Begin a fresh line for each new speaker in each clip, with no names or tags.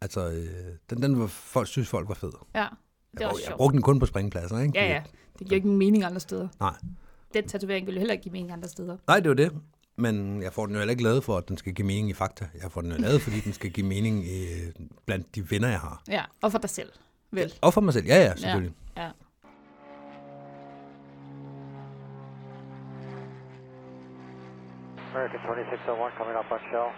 Altså, øh, den, den var, folk, synes folk var fed.
Ja, det er
Jeg,
også
jeg
sjovt.
brugte den kun på springpladser, ikke?
Ja, ja. Det giver ikke nogen mening andre steder.
Nej.
Den tatovering ville jo heller ikke give mening andre steder.
Nej, det var det. Men jeg får den jo heller ikke lavet for, at den skal give mening i fakta. Jeg får den jo lavet, fordi den skal give mening øh, blandt de venner, jeg har.
Ja, og for dig selv. Vel.
Og for mig selv. Ja, ja, selvfølgelig.
Ja. ja.
American 2601 coming up on shell.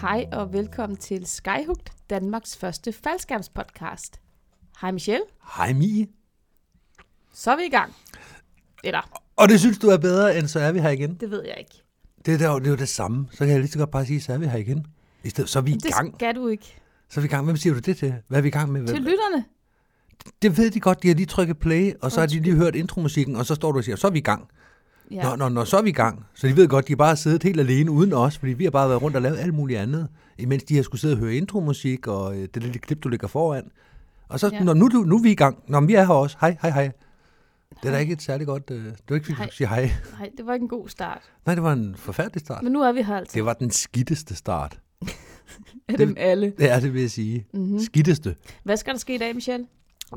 Hej og velkommen til Skyhooked, Danmarks første faldskærmspodcast. Hej Michelle,
Hej, Mie.
så er vi i gang. Eller,
Og det synes du er bedre, end så er vi her igen.
det ved jeg ikke.
Det, er der, jo- det er jo det samme. Så kan jeg lige så godt bare sige, så er vi her igen. I stedet, så er vi i
Det
gang.
skal du ikke.
Så er vi i gang. Hvem siger du det til? Hvad er vi i gang med? Hvem?
Til lytterne.
Det ved de godt. De har lige trykket play, og så har de lige hørt intromusikken, og så står du og siger, så er vi i gang.
Ja.
Ja. Nå, nå, nå, så er vi i gang. Så de ved godt, de har bare siddet helt alene uden os, fordi vi har bare været rundt og lavet alt muligt andet, imens de har skulle sidde og høre intromusik og øh, det lille klip, du ligger foran. Og så,
Ja.
ja. nå, nu, er du- nu er vi i gang. Nå, men vi er her også. Hej, hej, hej. Det er da ikke et særligt godt... Øh, det var ikke, fordi
Hej.
du siger hej.
Nej, det var ikke en god start.
Nej, det var en forfærdelig start.
Men nu er vi her altså.
Ah. Det var den skitteste start.
Af dem alle.
Det er det, vil jeg sige. Mm-hmm. Skitteste.
Hvad skal der ske i dag, Michelle?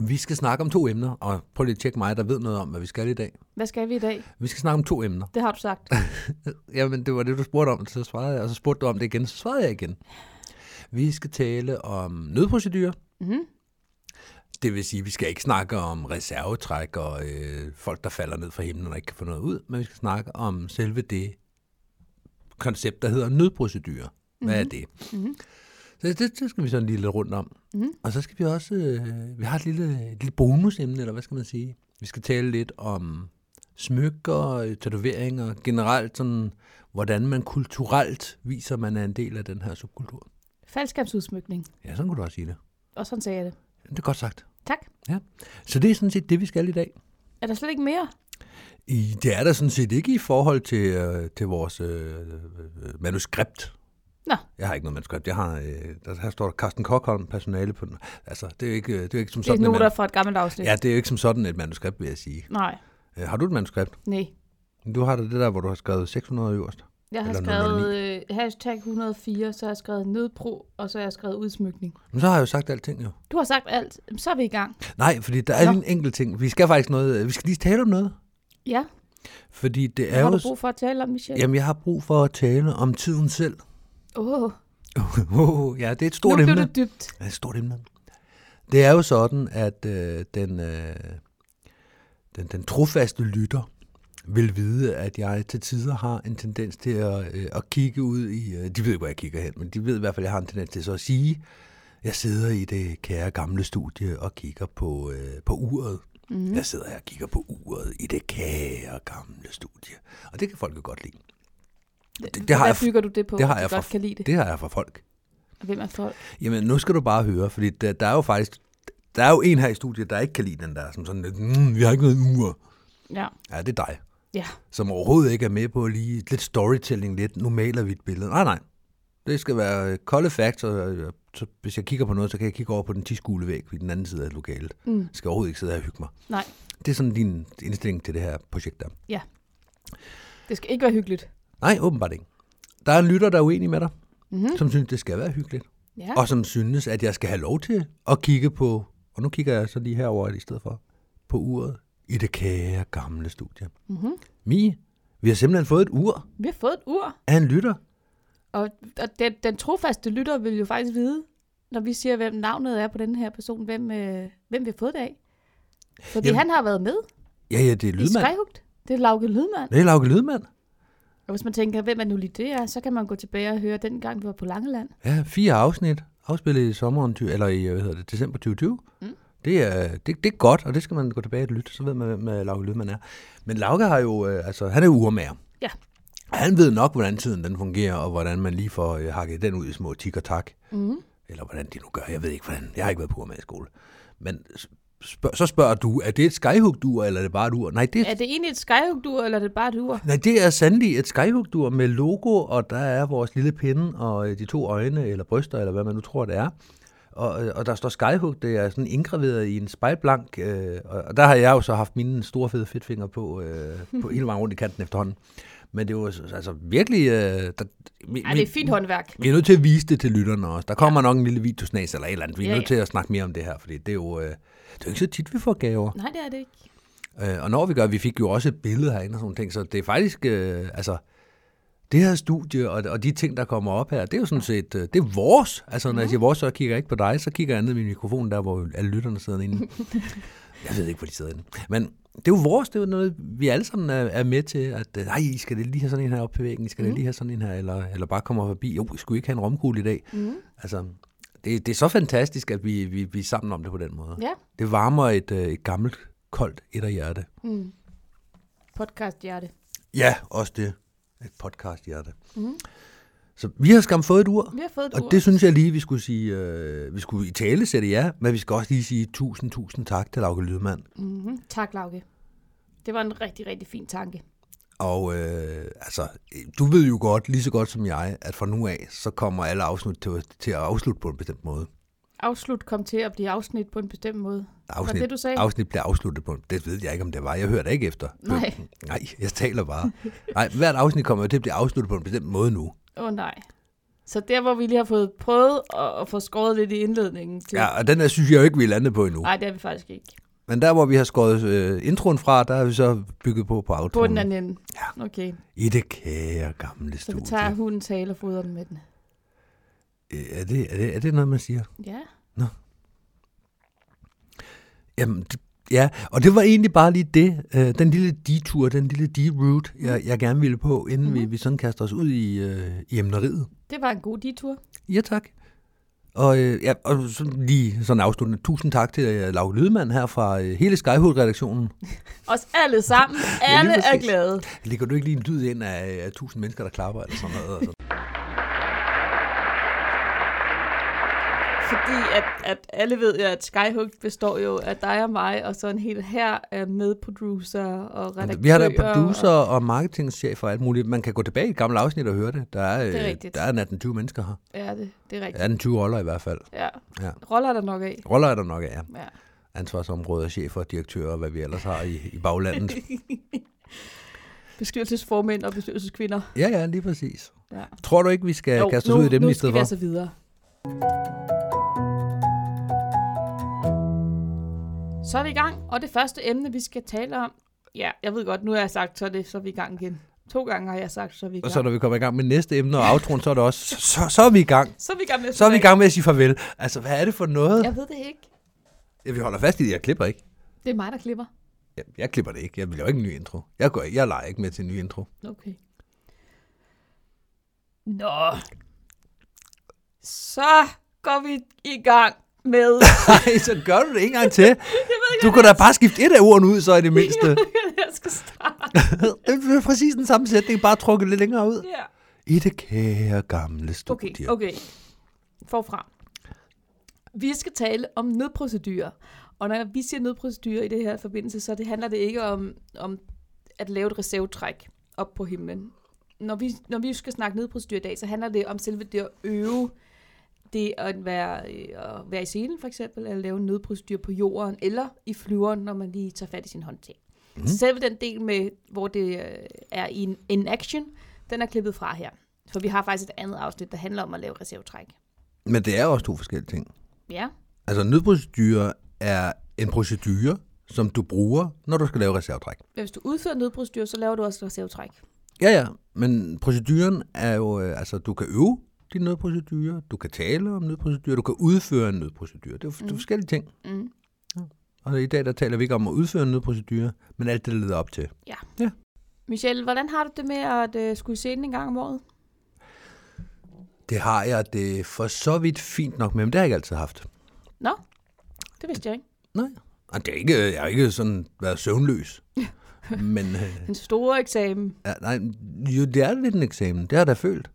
Vi skal snakke om to emner, og prøv lige at tjekke mig, der ved noget om, hvad vi skal i dag.
Hvad skal vi i dag?
Vi skal snakke om to emner.
Det har du sagt.
Jamen, det var det, du spurgte om, så svarede jeg, og så spurgte du om det igen, så svarede jeg igen. Vi skal tale om nødprocedurer. Mm-hmm. Det vil sige, vi skal ikke snakke om reservetræk og øh, folk, der falder ned fra himlen og ikke kan få noget ud, men vi skal snakke om selve det koncept, der hedder nødprocedurer. Hvad mm-hmm. er det? Mm-hmm. Så det, det skal vi sådan lige lidt rundt om. Mm-hmm. Og så skal vi også, øh, vi har et lille, et lille bonusemne, eller hvad skal man sige? Vi skal tale lidt om smykker, øh, tatoveringer, generelt sådan, hvordan man kulturelt viser, at man er en del af den her subkultur.
Faldskabsudsmykning.
Ja, sådan kunne du også sige det.
Og sådan sagde jeg det.
Det er godt sagt.
Tak.
Ja. Så det er sådan set det, vi skal i dag.
Er der slet ikke mere?
I, det er der sådan set ikke i forhold til, øh, til vores øh, øh, manuskript.
Nå,
Jeg har ikke noget manuskript. Jeg har, øh, der, her står der Carsten Kokholm, personale på den. Altså, det er jo ikke, øh, det er jo ikke som
det er
sådan et
noter
manu-
fra et gammelt afsnit.
Ja, det er jo ikke som sådan et manuskript, vil jeg sige.
Nej,
Øh, har du et manuskript?
nej.
Du har da det der, hvor du har skrevet 600 øverst.
Jeg har
Eller
skrevet øh, hashtag 104, så har jeg skrevet nødbro, og så har jeg skrevet udsmykning.
Men så har jeg jo sagt alting jo.
Du har sagt alt. Jamen, Så er vi i gang.
Nej, fordi der er
Nå.
lige en enkelt ting. Vi skal faktisk noget, øh, vi skal lige tale om noget.
Ja,
Fordi det
hvad
er
har
jo...
du brug for at tale om, Michelle?
Jamen, jeg har brug for at tale om tiden selv.
Åh, oh,
oh, ja, det er et
nu
stort
blev
emne.
det dybt.
Ja, et stort emne. Det er jo sådan, at øh, den, øh, den, den trofaste lytter vil vide, at jeg til tider har en tendens til at, øh, at kigge ud i... Øh, de ved ikke, hvor jeg kigger hen, men de ved i hvert fald, at jeg har en tendens til så at sige, jeg sidder i det kære gamle studie og kigger på, øh, på uret.
Mhm.
Mm. Jeg sidder her og kigger på uret i det kære gamle studie. Og det kan folk jo godt lide. det har
Hvad
jeg f-
bygger du det på,
det har
at du
jeg
godt
fra-
kan lide det?
Det har jeg fra folk.
Og Hvem er folk?
Jamen, nu skal du bare høre, fordi der, der er jo faktisk... Der er jo en her i studiet, der ikke kan lide den der, som sådan lidt, mm, vi har ikke noget ur.
Ja,
Ja, det er dig,
ja.
som overhovedet ikke er med på lige lidt storytelling, lidt nu maler vi et billede. Nej, nej. Det skal være øh, kolde facts, og øh, så, hvis jeg kigger på noget, så kan jeg kigge over på den tiskule væg ved den anden side af lokalet. Mm. Jeg skal overhovedet ikke sidde her og hygge mig.
Nej,
Det er sådan din indstilling til det her projekt der.
ja. Det skal ikke være hyggeligt.
Nej, åbenbart ikke. Der er en lytter, der er uenig med dig, mm-hmm. som synes, det skal være hyggeligt.
Ja,
og som synes, at jeg skal have lov til at kigge på, og nu kigger jeg så lige herover i stedet for, på uret i det kære gamle studie. Mm-hmm.
Mhm.
Mie, vi har simpelthen fået et ur
vi har fået et ur.
af en lytter.
Og, og den, den trofaste lytter vil jo faktisk vide, når vi siger, hvem navnet er på den her person, hvem, øh, hvem vi har fået det af. Fordi
Jamen,
Jamen, han har været med
Ja, ja, det er
i
Lydmand.
Skyhugt. Det er Lauke Lydmand.
Det er Lauke Lydmand.
Og hvis man tænker, hvem er nu lige det er, så kan man gå tilbage og høre den gang, vi var på Langeland.
Ja, fire afsnit, afspillet i sommeren, ty- eller i, hvad hedder det, december 2020. Mm. Det, er, det, det er godt, og det skal man gå tilbage og lytte, så ved man, hvem øh, Lauke Lydmand er. Men Lauke har jo, øh, altså, han er jo urmager.
Ja,
Han ved nok, hvordan tiden den fungerer, og hvordan man lige får øh, hakket den ud i små tik og tak. Mm. Eller hvordan de nu gør. Jeg ved ikke, hvordan. Jeg har ikke været på med i skole. Men spørg, så spørger du, er det et skyhook-dur, eller er det bare et ur? Nej, det,
er det egentlig et skyhugt eller er det bare et ur?
nej, det er sandelig et skyhook-dur med logo, og der er vores lille pinde og øh, de to øjne, eller bryster, eller hvad man nu tror, det er. og, og der står skyhook, det er sådan indgraveret i en spejlblank, øh, og og der har jeg jo så haft mine store fede fedtfinger på, øh, på hele vejen rundt i kanten efterhånden. Men det var så- altså virkelig... Øh, der, mi,
Ej, det er fint håndværk.
vi er nødt til at vise det til lytterne også. Der kommer ja. nok en lille videosnas eller et eller andet. Vi er
Ja,
ja, nødt
ja.
til at snakke mere om det her, fordi det er jo, øh, det er jo ikke så tit, vi får gaver.
Nej, det er det ikke.
Øh, og når vi gør, vi fik jo også et billede herinde og sådan nogle ting, så det er faktisk, øh, altså, det her studie og, og de ting, der kommer op her, det er jo sådan set, øh, det er vores. Altså, når jeg siger vores, så kigger jeg ikke på dig, så kigger jeg ned i min mikrofon, der hvor alle lytterne sidder inde. jeg ved ikke, hvor de sidder inde. Men det er jo vores, det er jo noget, vi alle sammen er, er med til, at øh, nej, I skal det lige have sådan en her op på væggen, I skal mm. det lige have sådan en her, eller, eller bare komme forbi, jo, I skulle ikke have en romkugle i dag. Mm. Altså, det, det er så fantastisk, at vi, vi, vi er sammen om det på den måde.
Ja.
Det varmer et, øh, et gammelt, koldt etterhjerte.
Podcast hjerte.
Ja, også det. Et podcast hjerte. Mm. Så vi har skam fået et ur.
Mhm. Vi har fået et
og
ur.
det synes jeg lige, vi skulle sige, øh, vi skulle i tale sætte ja, men vi skal også lige sige tusind, tusind tak til Lauke Lydmand.
Mm-hmm. Tak, Lauke. Det var en rigtig, rigtig fin tanke.
Og øh, altså, øh, du ved jo godt, lige så godt som jeg, at fra nu af, så kommer alle afsnit til, til at afslutte på en bestemt måde.
Afslut kom til at blive afsnit på en bestemt måde.
Afsnit,
Var det, du sagde?
afsnit bliver afsluttet på en- Det ved jeg ikke, om det var. Jeg hørte ikke efter.
Nej.
Nej, jeg taler bare. Nej, hvert afsnit kommer jo til at blive afsluttet på en bestemt måde nu.
Åh oh, nej. Så der, hvor vi lige har fået prøvet at, at få skåret lidt i indledningen til...
Ja, og den der synes jeg jo ikke, vi er landet på endnu.
Nej, det er vi faktisk ikke.
Men der, hvor vi har skåret øh, introen fra, der har vi så bygget på på
På den
outroen.
anden ende.
Ja.
Okay,
I det kære gamle
så vi
studie.
tager hunden tale og fodrer den med den.
Øh, Er, det, er, det, er det noget, man siger?
Ja.
Jamen, det, ja, og det var egentlig bare lige det. Øh, den lille detur, den lille deroute, jeg,
Mm.
jeg gerne ville på, inden mm-hmm. vi, vi sådan kaster os ud i, øh, i emneriet.
Det var en god detur.
Ja, tak. Og, øh, ja, og så lige sådan afsluttende, tusind tak til øh, Lav Lydmand her fra øh, hele Skyhood-redaktionen.
Os alle sammen. Alle er
præcis.
glade.
Ligger du ikke lige en lyd ind af, af tusind mennesker, der klapper eller sådan noget? Altså.
Fordi at, at alle ved jo, at Skyhook består jo af dig og mig, og så en hel her af medproducer og redaktører.
Vi har da producer og marketingchef og alt muligt. Man kan gå tilbage i et gammelt afsnit og høre det. Der er,
Det er
øh,
rigtigt.
der er 18-20 mennesker her.
Og, ja, det, det er rigtigt.
18-20 roller i hvert fald.
Ja.
Ja.
Roller er der nok af.
Roller er der nok af, ja.
Ja.
Ansvarsområder, chefer, direktører og hvad vi ellers har i, i baglandet.
Bestyrelsesformænd og bestyrelseskvinder.
Ja, ja, lige præcis.
Ja.
Tror du ikke, vi skal jo, kaste os
nu,
ud i dem
nu
i stedet
skal vi
for?
altså videre. Så er vi i gang, og det første emne, vi skal tale om... Ja, jeg ved godt, nu har jeg sagt, så er, det, så er vi i gang igen. To gange har jeg sagt, så er vi i
Og
gang.
så når vi kommer i gang med næste emne og outroen, så er det også, så, så, så er vi i gang.
så er vi i gang med...
Så er vi i gang med at sige farvel. Altså, hvad er det for noget?
Jeg ved det ikke.
Ja. Vi holder fast i det, jeg klipper ikke.
Det er mig, der klipper.
Jeg, jeg klipper det ikke. Jeg vil jo ikke en ny intro. Jeg, går, jeg leger ikke med til en ny intro.
Okay. Nå. Så går vi i gang med...
Nej, så gør du det ikke engang til.
Jeg ved ikke,
Du kunne da bare skifte et af ordene ud, så i det mindste.
hvordan jeg skal starte.
det er præcis den samme sætning, bare trukket lidt længere ud.
Ja.
I det kære gamle studie.
Okay, okay. Forfra. Vi skal tale om nødprocedurer. Og når vi siger nødprocedurer i det her forbindelse, så det handler det ikke om, om at lave et reservetræk op på himlen. Når vi, når vi skal snakke nødprocedurer i dag, så handler det om selve det at øve det at være, øh, at være i scenen for eksempel, eller lave en nødprocedur på jorden, eller i flyveren, når man lige tager fat i sin håndtag. Mm. Selve den del med, hvor det øh, er i en, en action, den er klippet fra her. For vi har faktisk et andet afsnit, der handler om at lave reservetræk.
Men det er også to forskellige ting.
Ja,
Altså, nødprocedure er en procedure, som du bruger, når du skal lave reservetræk.
men hvis du udfører nødprocedurer, så laver du også reservetræk.
Ja, ja, men proceduren er jo, øh, altså, du kan øve din nødprocedure, du kan tale om nødprocedure, du kan udføre en nødprocedure. Det er, mm. det er forskellige ting.
Mm.
Ja. Og i dag, der taler vi ikke om at udføre en nødprocedure, men alt det, der leder op til.
Michelle, hvordan har du det med at øh, skulle i scenen en gang om året?
Det har jeg det for så vidt fint nok med, men det har jeg ikke altid haft.
Nå, det vidste jeg ikke.
Nej. Og det er ikke, jeg har ikke sådan været søvnløs. Men øh,
Den store eksamen.
ja, nej, jo, det er lidt en eksamen. Det har jeg da følt.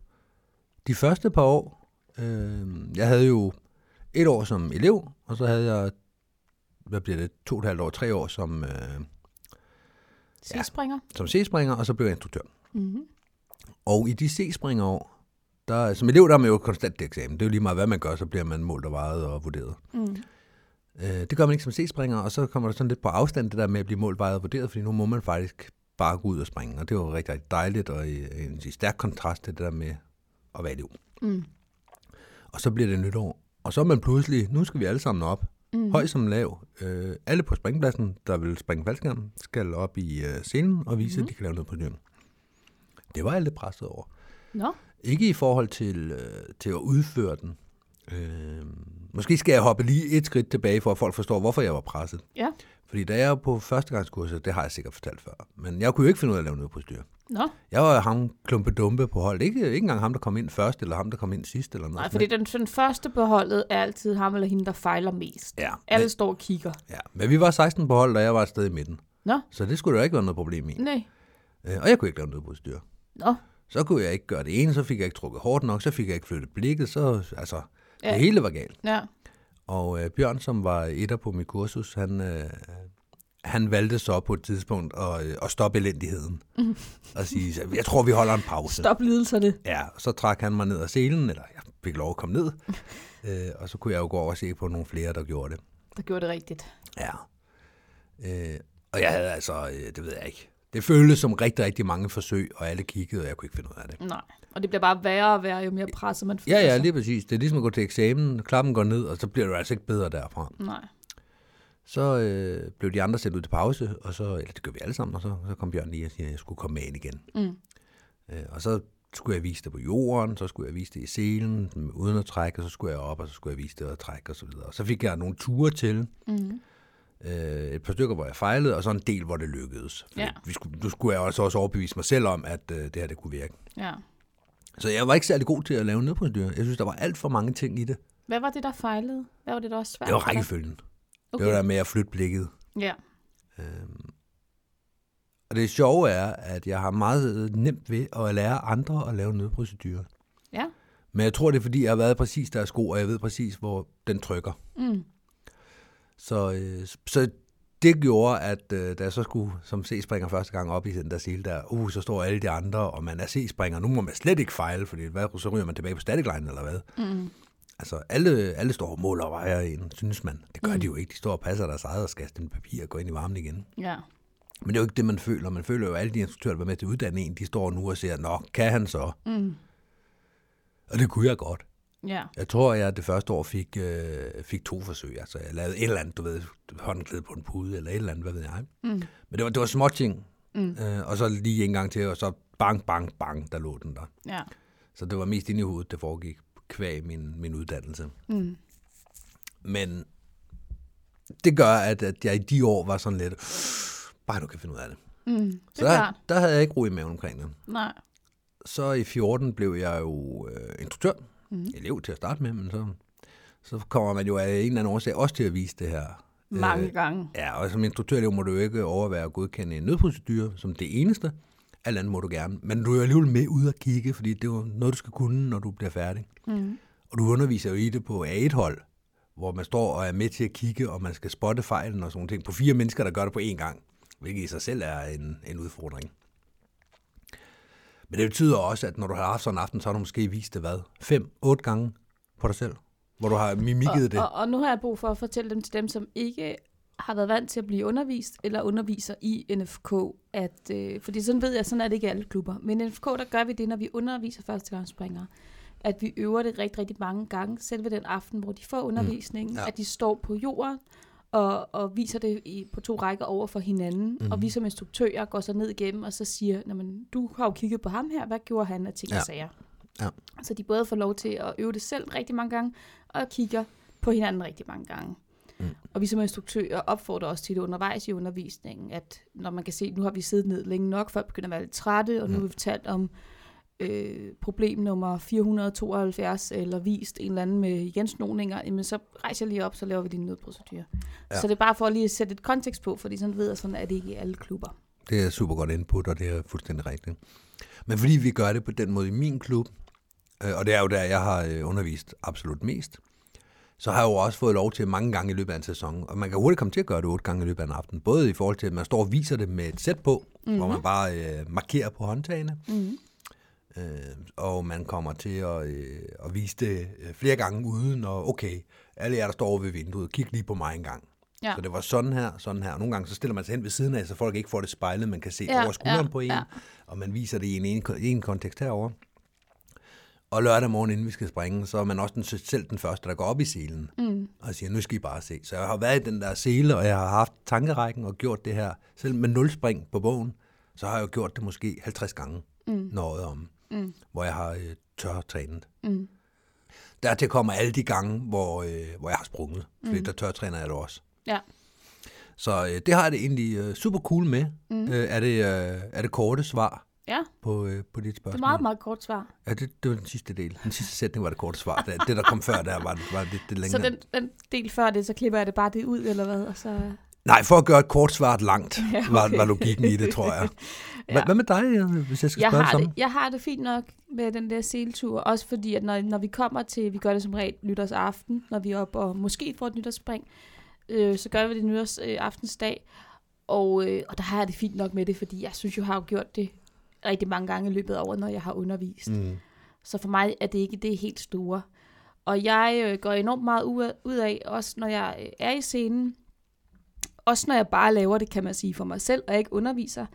De første par år, øh, jeg havde jo et år som elev, og så havde jeg, hvad bliver det, to og et halvt år, tre år som, øh,
Sidst springer.
som C-springer, og så blev jeg instruktør.
Mm-hmm.
Og i de C-springerår, Der, som elev der er man jo konstant til eksamen. Det er jo lige meget, hvad man gør, så bliver man målt og vejet og vurderet.
Mm.
Øh, det gør man ikke som C-springer, og så kommer der sådan lidt på afstand det der med at blive målt, vejet og vurderet, fordi nu må man faktisk bare gå ud og springe, og det var rigtig, rigtig dejligt, og i, i, i stærk kontrast til det der med at være elev.
Mm.
Og så bliver det nytår, og så er man pludselig, nu skal vi alle sammen op, mm. høj som lav. Øh, alle på springpladsen, der vil springe faldskærm, skal op i øh, scenen og
Mhm.
vise, mm. at de kan lave noget på nyheden. Det var jeg lidt presset over.
Nå,
Ikke i forhold til, øh, til at udføre den. Øh, måske skal jeg hoppe lige et skridt tilbage, for at folk forstår, hvorfor jeg var presset.
ja.
Fordi da jeg var på førstegangskurset, det har jeg sikkert fortalt før, men jeg kunne jo ikke finde ud af at lave noget på styr.
Nå,
Jeg var ham klumpedumpe på hold. Ikke, ikke engang ham, der kom ind først, eller ham, der kom ind sidst. Eller noget
nej,
sådan
fordi den, den første på holdet er altid ham eller hende, der fejler mest.
noget. ja,
Alle
men,
står og kigger.
ja. men vi var 16 på hold, og jeg var et sted i midten.
Nå,
Så det skulle der jo ikke være noget problem i.
nej.
Øh, og jeg kunne ikke lave noget på styr.
Nå,
Så kunne jeg ikke gøre det ene, så fik jeg ikke trukket hårdt nok, så fik jeg ikke flyttet blikket, så altså, ja.
Ja.
det hele var galt.
ja.
Og øh, Bjørn, som var etter på mit kursus, han, øh, han valgte så på et tidspunkt at, øh, at stoppe elendigheden. Mm. Og sige, jeg tror, vi holder en pause.
Stop lidelserne.
Ja, og så trak han mig ned af selen, eller jeg fik lov at komme ned. øh, og så kunne jeg jo gå over og se på nogle flere, der gjorde det.
Der gjorde det rigtigt.
Ja. Øh, og jeg havde altså, øh, det ved jeg ikke. Det føltes som rigtig, rigtig mange forsøg, og alle kiggede, og jeg kunne ikke finde ud af det.
Nej. Og det bliver bare værre og værre, jo mere presset man
Ja,
føler
ja,
sig.
lige præcis. Det er ligesom at gå til eksamen, klappen går ned, og så bliver du altså ikke bedre derfra.
Nej.
Så øh, blev de andre sendt ud til pause, og så, eller det gør vi alle sammen, og så, så kom Bjørn lige og siger, at jeg skulle komme med ind igen.
Mm.
Øh, og så skulle jeg vise det på jorden, så skulle jeg vise det i selen, m- uden at trække, og så skulle jeg op, og så skulle jeg vise det og trække osv. Og så fik jeg nogle ture til,
Mm.
øh, et par stykker, hvor jeg fejlede, og så en del, hvor det lykkedes. Fordi
Ja.
Vi skulle, nu skulle jeg også, også overbevise mig selv om, at øh, det her det kunne virke.
Ja.
Så jeg var ikke særlig god til at lave nedprocedurer. Jeg synes, der var alt for mange ting i det.
Hvad var det, der fejlede? Hvad var det, der var svært?
Det var
for dig?
rækkefølgen. Okay.
Okay.
Det var der med at flytte blikket.
Ja.
Øhm. Og det sjove er, at jeg har meget nemt ved at lære andre at lave nødprocedurer.
Ja.
Men jeg tror, det er, fordi jeg har været præcis deres sko, og jeg ved præcis, hvor den trykker.
Mm.
Så, øh, så det gjorde, at øh, da jeg så skulle som C-springer første gang op i den der sele der, uh, så står alle de andre, og man er C-springer, nu må man slet ikke fejle, fordi hvad, så ryger man tilbage på static line, eller hvad?
Mm.
Altså, alle, alle står og måler og vejer en, synes man. Det gør de jo ikke. De står og passer deres eget og skal den papir og gå ind i varmen igen.
Ja.
Men det er jo ikke det, man føler. Man føler jo, at alle de instruktører, der var med til at uddanne en, de står nu og siger, nå, kan han så?
Mm.
Og det kunne jeg godt.
Ja.
Jeg tror, jeg det første år fik, øh, fik to forsøg. Altså, jeg lavede et eller andet, du ved, håndklæde på en pude, eller et eller andet, hvad ved jeg.
Mm.
Men det var, det var små ting.
Mm.
Øh, og så lige en gang til, og så bang, bang, bang, der lå den der.
Ja.
Så det var mest inde i hovedet, det foregik kvæg min, min uddannelse.
Mm.
Men det gør, at, at jeg i de år var sådan lidt, bare du kan finde ud af det.
Mm. Det
Så
er
der,
klart.
der havde jeg ikke ro i maven omkring det.
Nej.
Så i 14 blev jeg jo øh, instruktør,
Mhm.
mm. elev til at starte med, men så, så kommer man jo af en eller anden årsag også til at vise det her. Øh,
Mange gange.
Ja, og som instruktørelev må du jo ikke overvære at godkende en nødprocedure som det eneste. Alt andet må du gerne. Men du er jo alligevel med ud og kigge, fordi det er jo noget, du skal kunne, når du bliver færdig.
Mm.
Og du underviser jo i det på A1-hold, hvor man står og er med til at kigge, og man skal spotte fejlen og sådan nogle ting på fire mennesker, der gør det på én gang, hvilket i sig selv er en, en udfordring. Men det betyder også, at når du har haft sådan en aften, så har du måske vist det hvad? Fem, otte gange på dig selv, hvor du har mimikket det.
Og, og nu har jeg brug for at fortælle dem til dem, som ikke har været vant til at blive undervist eller underviser i NFK, at, øh, fordi sådan ved jeg, sådan er det ikke i alle klubber, men i NFK, der gør vi det, når vi underviser førstegangsspringere, at vi øver det rigtig, rigtig mange gange, selve den aften, hvor de får undervisningen, mm.
Ja.
ja. at de står på jorden og, og viser det i, på to rækker over for hinanden,
Mm-hmm.
mm. og vi som instruktører går så ned igennem og så siger, "Nå, men du har jo kigget på ham her, hvad gjorde han af ting og
Ja.
sager?
Ja.
Så de både får lov til at øve det selv rigtig mange gange, og kigger på hinanden rigtig mange gange. Mm. Og vi som instruktører opfordrer også til det undervejs i undervisningen, at når man kan se, at nu har vi siddet ned længe nok, folk begynder at være lidt trætte,
Mm.
og nu har vi fortalt om øh, problem nummer 472, eller vist en eller anden med gensnoninger, jamen så rejser jeg lige op, så laver vi din nødprocedurer. Ja.
Ja.
Så det er bare for lige at sætte et kontekst på, fordi sådan ved jeg, sådan er det ikke i alle klubber.
Det er super godt input, og det er fuldstændig rigtigt. Men fordi vi gør det på den måde i min klub, øh, og det er jo der, jeg har øh, undervist absolut mest, så har jeg jo også fået lov til mange gange i løbet af en sæson, og man kan hurtigt komme til at gøre det otte gange i løbet af en aften, både i forhold til, at man står og viser det med et sæt på, mm-hmm. hvor man bare øh, markerer på håndtagene,
Mm.
Øh, og man kommer til at, øh, at vise det øh, flere gange uden, og okay, alle jer, der står over ved vinduet, kig lige på mig en gang.
Ja.
Så det var sådan her, sådan her. Og nogle gange så stiller man sig hen ved siden af, så folk ikke får det spejlet, man kan se
Ja,
ja, over skulderen
ja,
ja, på en,
ja.
ja. og man viser det i en, en, en kontekst herover. Og lørdag morgen, inden vi skal springe, så er man også den, selv den første, der går op i selen mm. og siger, nu skal I bare se. Så jeg har været i den der sele, og jeg har haft tankerækken og gjort det her. Selv med nul spring på bogen, så har jeg jo gjort det måske 50 gange mm. noget om, mm. hvor jeg har øh, tørtrænet.
Mm.
Dertil kommer alle de gange, hvor, øh, hvor jeg har sprunget, fordi mm. der tørtræner jeg det også.
Ja.
Så øh, det har jeg det egentlig øh, super cool med. Mm. Øh, er, det, øh, er det korte svar
Ja,
på, øh, på dit
det
spørgsmål?
er meget, meget kort svar.
Ja, det, det var den sidste del. Den sidste sætning var det korte svar. Det, det der kom før, der var, var det, det længere.
Så den, den del før det, så klipper jeg det bare det ud, eller hvad? Og så...
Nej, for at gøre et kort svar langt, ja,
okay.
okay. var, var logikken i det, tror jeg. Hva,
Ja.
Hvad med dig, øh, hvis jeg skal
Jeg
spørge
har,
sammen?
det, jeg har det fint nok med den der seletur, også fordi, at når, når vi kommer til, vi gør det som regel nytårsaften, når vi er oppe og måske får et nytårsspring, øh, så gør vi det nytårsaftensdag, øh, aftensdag. og, øh, og der har jeg det fint nok med det, fordi jeg synes, jeg har jo gjort det rigtig mange gange i løbet af året, når jeg har undervist.
Mm.
Så for mig er det ikke det helt store. Og jeg øh, går enormt meget ud ud af, også når jeg øh, er i scenen, også når jeg bare laver det, kan man sige, for mig selv, og jeg ikke underviser,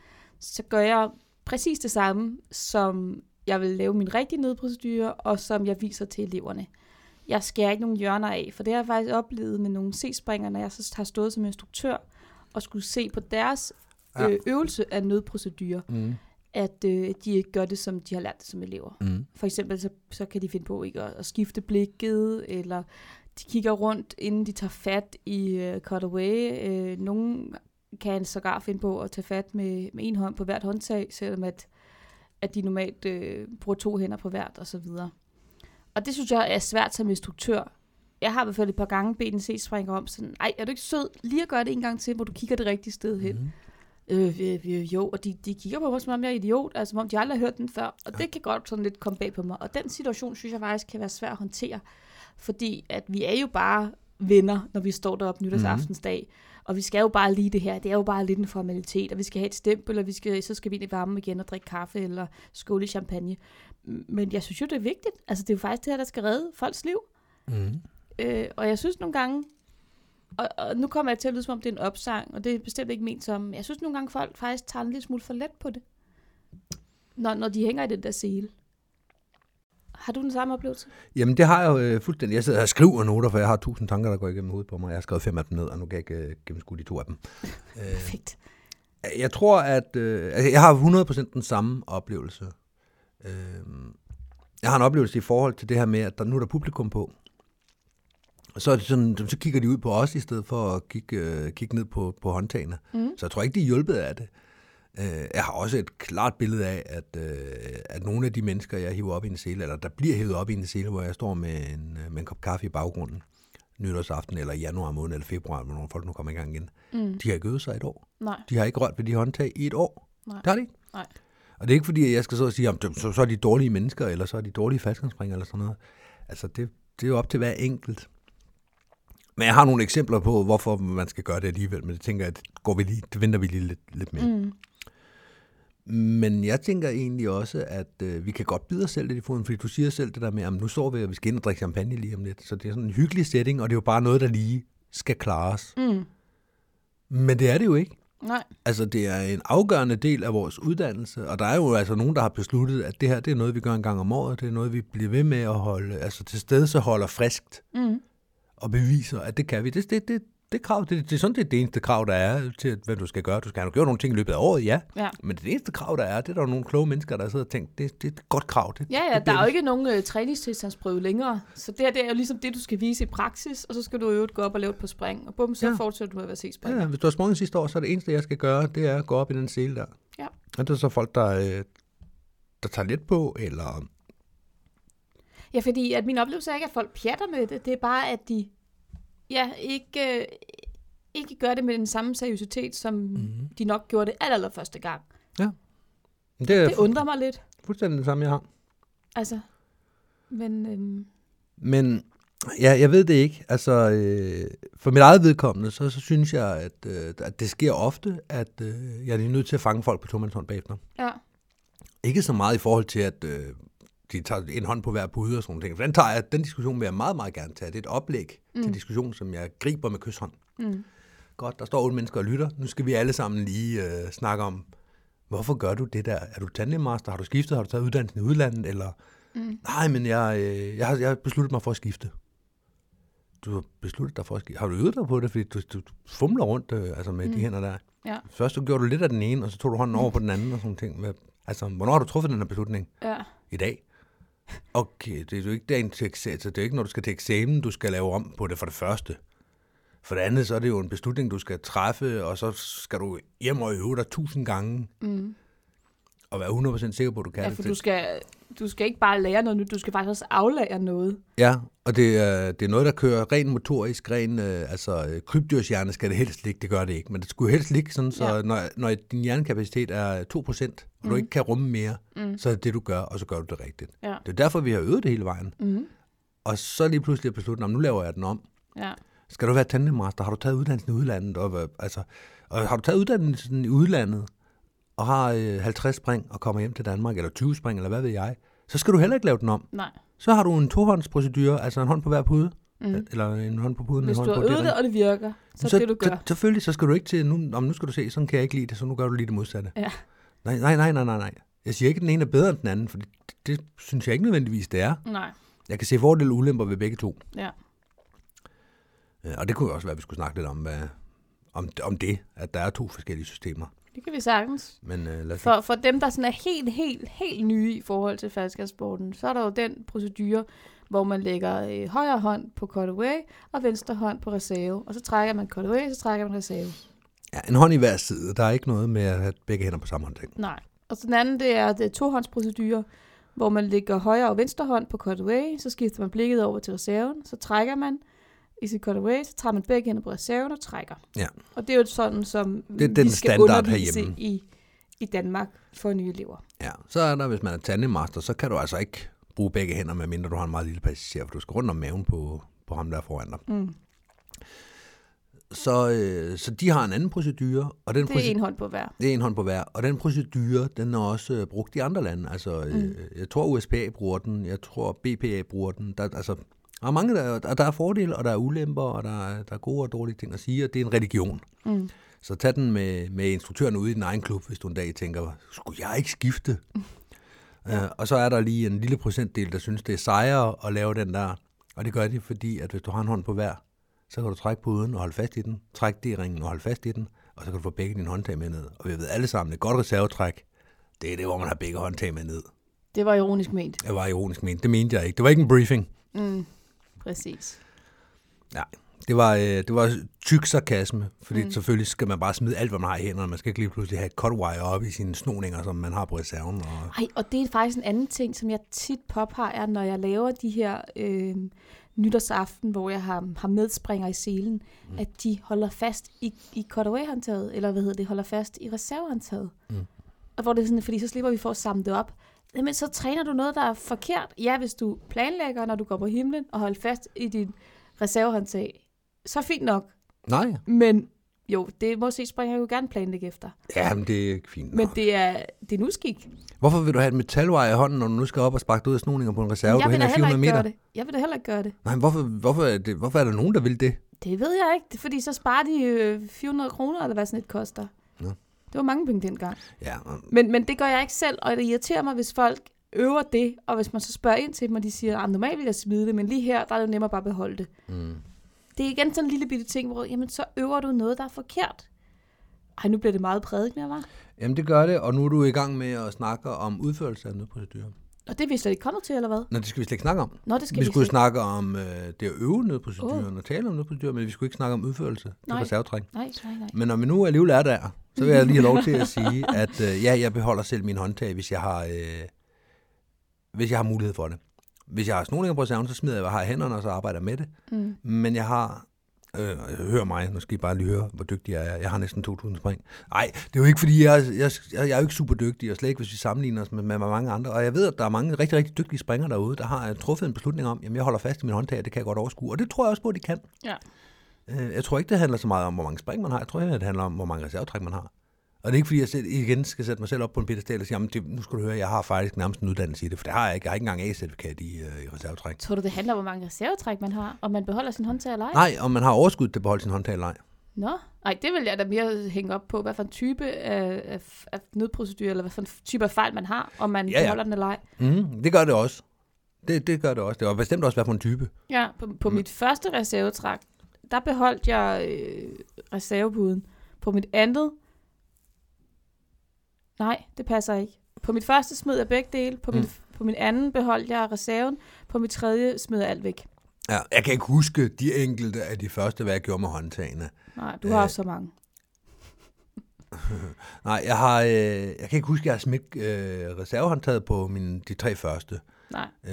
så gør jeg præcis det samme, som jeg vil lave min rigtige nødprocedure, og som jeg viser til eleverne. Jeg skærer ikke nogen hjørner af, for det har jeg faktisk oplevet med nogle C-springer, når jeg så har stået som instruktør og skulle se på deres
Ja.
øh, øvelse af nødprocedure,
Mm.
at øh, de ikke gør det, som de har lært det som elever.
Mm.
For eksempel, så, så kan de finde på ikke at, at skifte blikket, eller de kigger rundt, inden de tager fat i øh, cutaway. Øh, nogen kan sågar finde på at tage fat med, med en hånd på hvert håndtag, selvom at, at de normalt øh, bruger to hænder på hvert, og så videre. Og det synes jeg er svært som instruktør. Jeg har i hvert fald et par gange bedt en C-springer om sådan, ej, er du ikke sød lige at gøre det en gang til, hvor du kigger det rigtige sted hen?
Mm.
Øh, øh, øh, jo, og de, de kigger på mig, som om jeg er idiot, altså som om de aldrig har hørt den før, og det kan godt sådan lidt komme bag på mig. Og den situation, synes jeg faktisk, kan være svær at håndtere, fordi at vi er jo bare venner, når vi står deroppe nytårsaftensdag, mm. og vi skal jo bare lige det her, det er jo bare lidt en formalitet, og vi skal have et stempel, og vi skal, så skal vi ind i varmen igen og drikke kaffe eller skåle i champagne. Men jeg synes jo, det er vigtigt, altså det er jo faktisk det her, der skal redde folks liv.
Mm.
Øh, og jeg synes nogle gange, og, og nu kommer jeg til at lyde som om det er en opsang, og det er bestemt ikke ment som, jeg synes nogle gange folk faktisk tager en lille smule for let på det, når, når de hænger i den der sele. Har du den samme oplevelse?
Jamen, det har jeg jo øh, fuldstændig. Jeg sidder her og skriver noter, for jeg har tusind tanker, der går igennem hovedet på mig. Jeg har skrevet fem af dem ned, og nu kan jeg ikke øh, gennemskue de to af dem.
Perfekt.
Jeg tror, at øh, altså, jeg har 100% den samme oplevelse. Øh, jeg har en oplevelse i forhold til det her med, at der, nu er der publikum på. Og så, er det sådan, så kigger de ud på os, i stedet for at kigge, øh, kigge ned på, på håndtagene. Mm. Så jeg tror ikke, de er hjulpet af det. Øh, jeg har også et klart billede af, at, øh, at nogle af de mennesker, jeg hiver op i en sele, eller der bliver hævet op i en sele, hvor jeg står med en, øh, med en kop kaffe i baggrunden, nytårsaften, eller i januar måned, eller februar, hvornår folk nu kommer i gang igen,
Mm.
de har ikke øvet sig et år.
Nej,
De har ikke rørt ved de håndtag i et år.
Nej.
Det har de ikke.
Nej.
Og det er ikke fordi, at jeg skal så og sige, om dem- så, så er de dårlige mennesker, eller så er de dårlige faldskærmsspringere, eller sådan noget. Altså, det, det er jo op til hver enkelt. Men jeg har nogle eksempler på, hvorfor man skal gøre det alligevel, men det tænker jeg, det, går vi lige, det venter vi lige lidt, lidt med.
Mm.
Men jeg tænker egentlig også, at øh, vi kan godt bide os selv lidt i foden, fordi du siger selv det der med, at nu står vi, og vi skal ind og drikke champagne lige om lidt. Så det er sådan en hyggelig setting, og det er jo bare noget, der lige skal klares.
Mm.
Men det er det jo ikke.
nej,
Altså, det er en afgørende del af vores uddannelse, og der er jo altså nogen, der har besluttet, at det her, det er noget, vi gør en gang om året, det er noget, vi bliver ved med at holde, altså til stede så holder friskt
mm.
og beviser, at det kan vi. Det, det, det, det krav, det, det er sådan det, er det eneste krav, der er til, at, hvad du skal gøre. Du skal have gjort nogle ting i løbet af året, ja,
ja.
men det eneste krav, der er, det er der jo nogle kloge mennesker, der sidder og tænker, det, det er et godt krav. Det,
Ja,
det
ja, der
bliver
er jo
vi-
ikke nogen øh, træningstilstandsprøve længere, så det her det er jo ligesom det, du skal vise i praksis, og så skal du i øvrigt gå op og lave et på spring, og bum, så ja.
Ja.
fortsætter du med at være C-springer.
Ja, ja, hvis du har sprunget sidste år, så er det eneste, jeg skal gøre, det er at gå op i den sele der.
Ja.
Og det er så folk, der, øh, der tager lidt på, eller...
Ja, fordi at min oplevelse er ikke, at folk pjatter med det. Det er bare, at de ja, ikke, øh, ikke gør det med den samme seriøsitet, som
Mhm.
mm-hmm. de nok gjorde det aller, aller første gang.
Det er
Det undrer mig lidt.
fuldstændig det samme, jeg har.
Altså, men øhm,
Men ja, jeg ved det ikke. Altså, øh, for mit eget vedkommende, så, så synes jeg, at, øh, at det sker ofte, at øh, jeg er nødt til at fange folk på tomandshånd bagefter.
ja,
Ikke så meget i forhold til, at øh, de tager en hånd på hver pude og sådan nogle ting. For den, tager jeg, den diskussion vil jeg meget, meget gerne tage. Det er et oplæg mm. til diskussion, som jeg griber med kysshånd.
Mm.
Godt, der står otte mennesker og lytter. Nu skal vi alle sammen lige øh, snakke om, hvorfor gør du det der? Er du tandemmaster? Har du skiftet? Har du taget uddannelsen i udlandet? Eller, mm. nej, men jeg, øh, jeg, har, jeg har besluttet mig for at skifte. Du har besluttet dig for at skifte. Har du øvet dig på det? Fordi du, du fumler rundt øh, altså med mm. de hænder der.
Ja.
Først så gjorde du lidt af den ene, og så tog du hånden over på den anden og sådan nogle ting. Med, altså, hvornår har du truffet den her beslutning?
Ja.
I dag? Okay, det er jo ikke dagen til eksamen, altså, det er jo ikke, når du skal til eksamen, du skal lave om på det for det første. For det andet, så er det jo en beslutning, du skal træffe, og så skal du hjem og øve dig tusind gange. Mm. Og være 100% sikker på, at du kan
ja,
det.
for
til-
du skal, du skal ikke bare lære noget nyt, du skal faktisk også aflære noget.
Ja, og det, er, det er noget, der kører ren motorisk, ren, øh, altså øh, krybdyrshjerne skal det helst ligge, det gør det ikke, men det skulle helst ligge sådan, så
Ja.
ja. når, når din hjernekapacitet er 2%, og mm. du ikke kan rumme mere, mm. så er det det, du gør, og så gør du det rigtigt.
Ja.
Det er derfor, vi har øvet det hele vejen. Mm. Og så lige pludselig beslutter, nu laver jeg den om.
Ja.
Skal du være tandemaster? Har du taget uddannelsen i udlandet? Og, hvad- altså, og har du taget uddannelsen i udlandet, og har øh, 50 spring, og kommer hjem til Danmark, eller 20 spring, eller hvad ved jeg, så skal du heller ikke lave den om
Nej.
så har du en tohåndsprocedure, altså en hånd på hver pude, mm. eller en hånd på puden,
Hvis
en
du
hånd
har
på
øvet
det,
det, og det virker, så, så
så
det du gør.
Så, selvfølgelig, så skal du ikke til, nu, om nu skal du se, sådan kan jeg ikke lide det, så nu gør du lige det modsatte.
Ja.
Nej, nej, nej, nej, nej, nej. Jeg siger ikke, at den ene er bedre end den anden, for det, det synes jeg ikke nødvendigvis, det er.
Nej.
Jeg kan se fordele og ulemper ved begge to.
Ja.
Øh, Og det kunne jo også være, at vi skulle snakke lidt om, hvad, om, om det, at der er to forskellige systemer.
Det kan vi sagtens.
Men øh, lad os
For, for dem, der sådan er helt, helt, helt nye i forhold til faldskærmsporten, så er der jo den procedure, hvor man lægger øh, højre hånd på cutaway og venstre hånd på reserve. Og så trækker man cutaway, så trækker man reserve.
ja, en hånd i hver side. Der er ikke noget med at have begge hænder på samme håndtag.
Nej. Og så den anden, det er det tohåndsprocedure, hvor man lægger højre og venstre hånd på cutaway, så skifter man blikket over til reserven, så trækker man i sit cutaway, så tager man begge hænder på reserven og trækker.
Ja.
Og det er jo sådan, som
er
vi
den
skal
standard
undervise
herhjemme.
i, i Danmark for nye elever.
Ja, så er der, hvis man er tandemaster, så kan du altså ikke bruge begge hænder, medmindre du har en meget lille passager, for du skal rundt om maven på, på ham, der er foran dig.
Mm.
Så, øh, så de har en anden procedure, og den
Det er
proce-
en hånd på hver.
det er en hånd på hver, og den procedure, den er også øh, brugt i andre lande. Altså, øh, jeg tror USPA bruger den, jeg tror BPA bruger den. Der, altså, der er mange, der, og der er fordele, og der er ulemper, og der, er- der er gode og dårlige ting at sige, og det er en religion.
Mm.
Så tag den med, med instruktøren ude i din egen klub, hvis du en dag tænker, skulle jeg ikke skifte? Ja. Øh, og så er der lige en lille procentdel, der synes, det er sejere at lave den der. Og det gør de, fordi at hvis du har en hånd på hver, så kan du trække på uden og holde fast i den. Træk D-ringen og holde fast i den. Og så kan du få begge dine håndtag med ned. Og vi ved alle sammen, et godt reservetræk, det er det, hvor man har begge håndtag med ned.
Det var ironisk ment.
Jeg var ironisk ment. Det mente jeg ikke. Det var ikke en briefing.
Mm, præcis.
Nej, det var, øh, det var tyk sarkasme, fordi mm. selvfølgelig skal man bare smide alt, hvad man har i hænderne. Man skal ikke lige pludselig have et cutwire op i sine snoninger, som man har på reserven. Og,
Ej, og det er faktisk en anden ting, som jeg tit påpeger, når jeg laver de her øh, nytårsaften, hvor jeg har, har medspringer i selen, mm. at de holder fast i, i cutaway-håndtaget, eller hvad hedder det, holder fast i reservehåndtaget. Mm. Og hvor det er sådan, fordi så slipper vi for at samle det op. Jamen, så træner du noget, der er forkert. Ja, hvis du planlægger, når du går på himlen, og holder fast i din reservehåndtag, så fint nok.
nej,
Men jo, det må se springer jo gerne planlægge efter.
ja, men det er ikke fint.
Men
nok.
det er, det er en uskik.
Hvorfor vil du have et metalwire i hånden, når du nu skal op og sparke dig ud af snoninger på en reserve,
jeg
du
vil da
hænger
heller
400
ikke
meter?
gøre det. Jeg vil da heller ikke gøre det.
Nej, hvorfor, hvorfor, er det, hvorfor er der nogen, der vil det?
Det ved jeg ikke, det er fordi så sparer de øh, 400 kroner, eller hvad sådan et koster.
Nå.
Det var mange penge dengang.
Ja, og-
Men, men det gør jeg ikke selv, og det irriterer mig, hvis folk øver det, og hvis man så spørger ind til dem, og de siger, at normalt vil jeg smide det, men lige her, der er det nemmere bare at beholde det.
mm.
Det er igen sådan en lille bitte ting, hvor jamen, så øver du noget, der er forkert. Ej, nu bliver det meget prædikende, var.
Jamen, det gør det, og nu er du i gang med at snakke om udførelse af nødprocedurer.
Og det er vi slet ikke kommet til, eller hvad?
Nå, det skal vi slet ikke snakke om.
Nå, det skal
vi
vi,
skulle
slet-
snakke om øh, det at øve nødproceduren og tale om nødprocedurer, men vi skulle ikke snakke om udførelse til
Nej.
reservetræk.
Nej, nej, nej.
Men når vi nu alligevel er der, så vil jeg lige have lov til at sige, at øh, ja, jeg beholder selv min håndtag, hvis jeg har, øh, hvis jeg har mulighed for det. Hvis jeg har snoninger på reserven, så smider jeg, hvad jeg har i hænderne, og så arbejder jeg med det.
Mm.
Men jeg har, øh, hør mig, nu skal I bare lige høre, hvor dygtig jeg er. Jeg har næsten 2.000 spring. Nej, det er jo ikke, fordi jeg, jeg, jeg, jeg er jo ikke super dygtig, og slet ikke, hvis vi sammenligner os med, med mange andre. Og jeg ved, at der er mange rigtig, rigtig dygtige springere derude, der har øh, truffet en beslutning om, jamen jeg holder fast i min håndtag, og det kan jeg godt overskue. Og det tror jeg også på, at de kan.
Ja.
Øh, Jeg tror ikke, det handler så meget om, hvor mange spring man har. Jeg tror, det handler om, hvor mange reservetræk man har. Og det er ikke, fordi jeg selv, igen skal sætte mig selv op på en pedestal og sige, jamen, det, nu skal du høre, jeg har faktisk nærmest en uddannelse i det, for det har jeg ikke. Jeg har ikke engang A-certifikat i, øh, i reservetræk.
Tror du, det handler om, hvor mange reservetræk man har, og man beholder sin håndtag eller ej?
Nej, og man har overskud til at beholde sin håndtag eller ej.
Nå, nej, det vil jeg da mere hænge op på, hvad for en type af, af, af nødprocedur, eller hvad for en type af fejl man har, om man
Ja,
ja,
ja.
ja. beholder den eller ej.
Mm, det gør det også. Det, det gør det også. Det var bestemt også, hvad for en type.
Ja, på, på
Mm.
mm. mit første reservetræk, der beholdt jeg øh, reservepuden. På mit andet, nej, det passer ikke. På mit første smed jeg begge dele, på, mm. min, på min anden beholdt jeg reserven, på mit tredje smed jeg alt væk.
Ja, jeg kan ikke huske de enkelte af de første, hvad jeg gjorde med håndtagene.
Nej, du har
Øh.
også så mange.
Nej, jeg, har, øh, jeg kan ikke huske, at jeg har smidt øh, reservehåndtaget på mine, de tre første.
Nej.
Øh,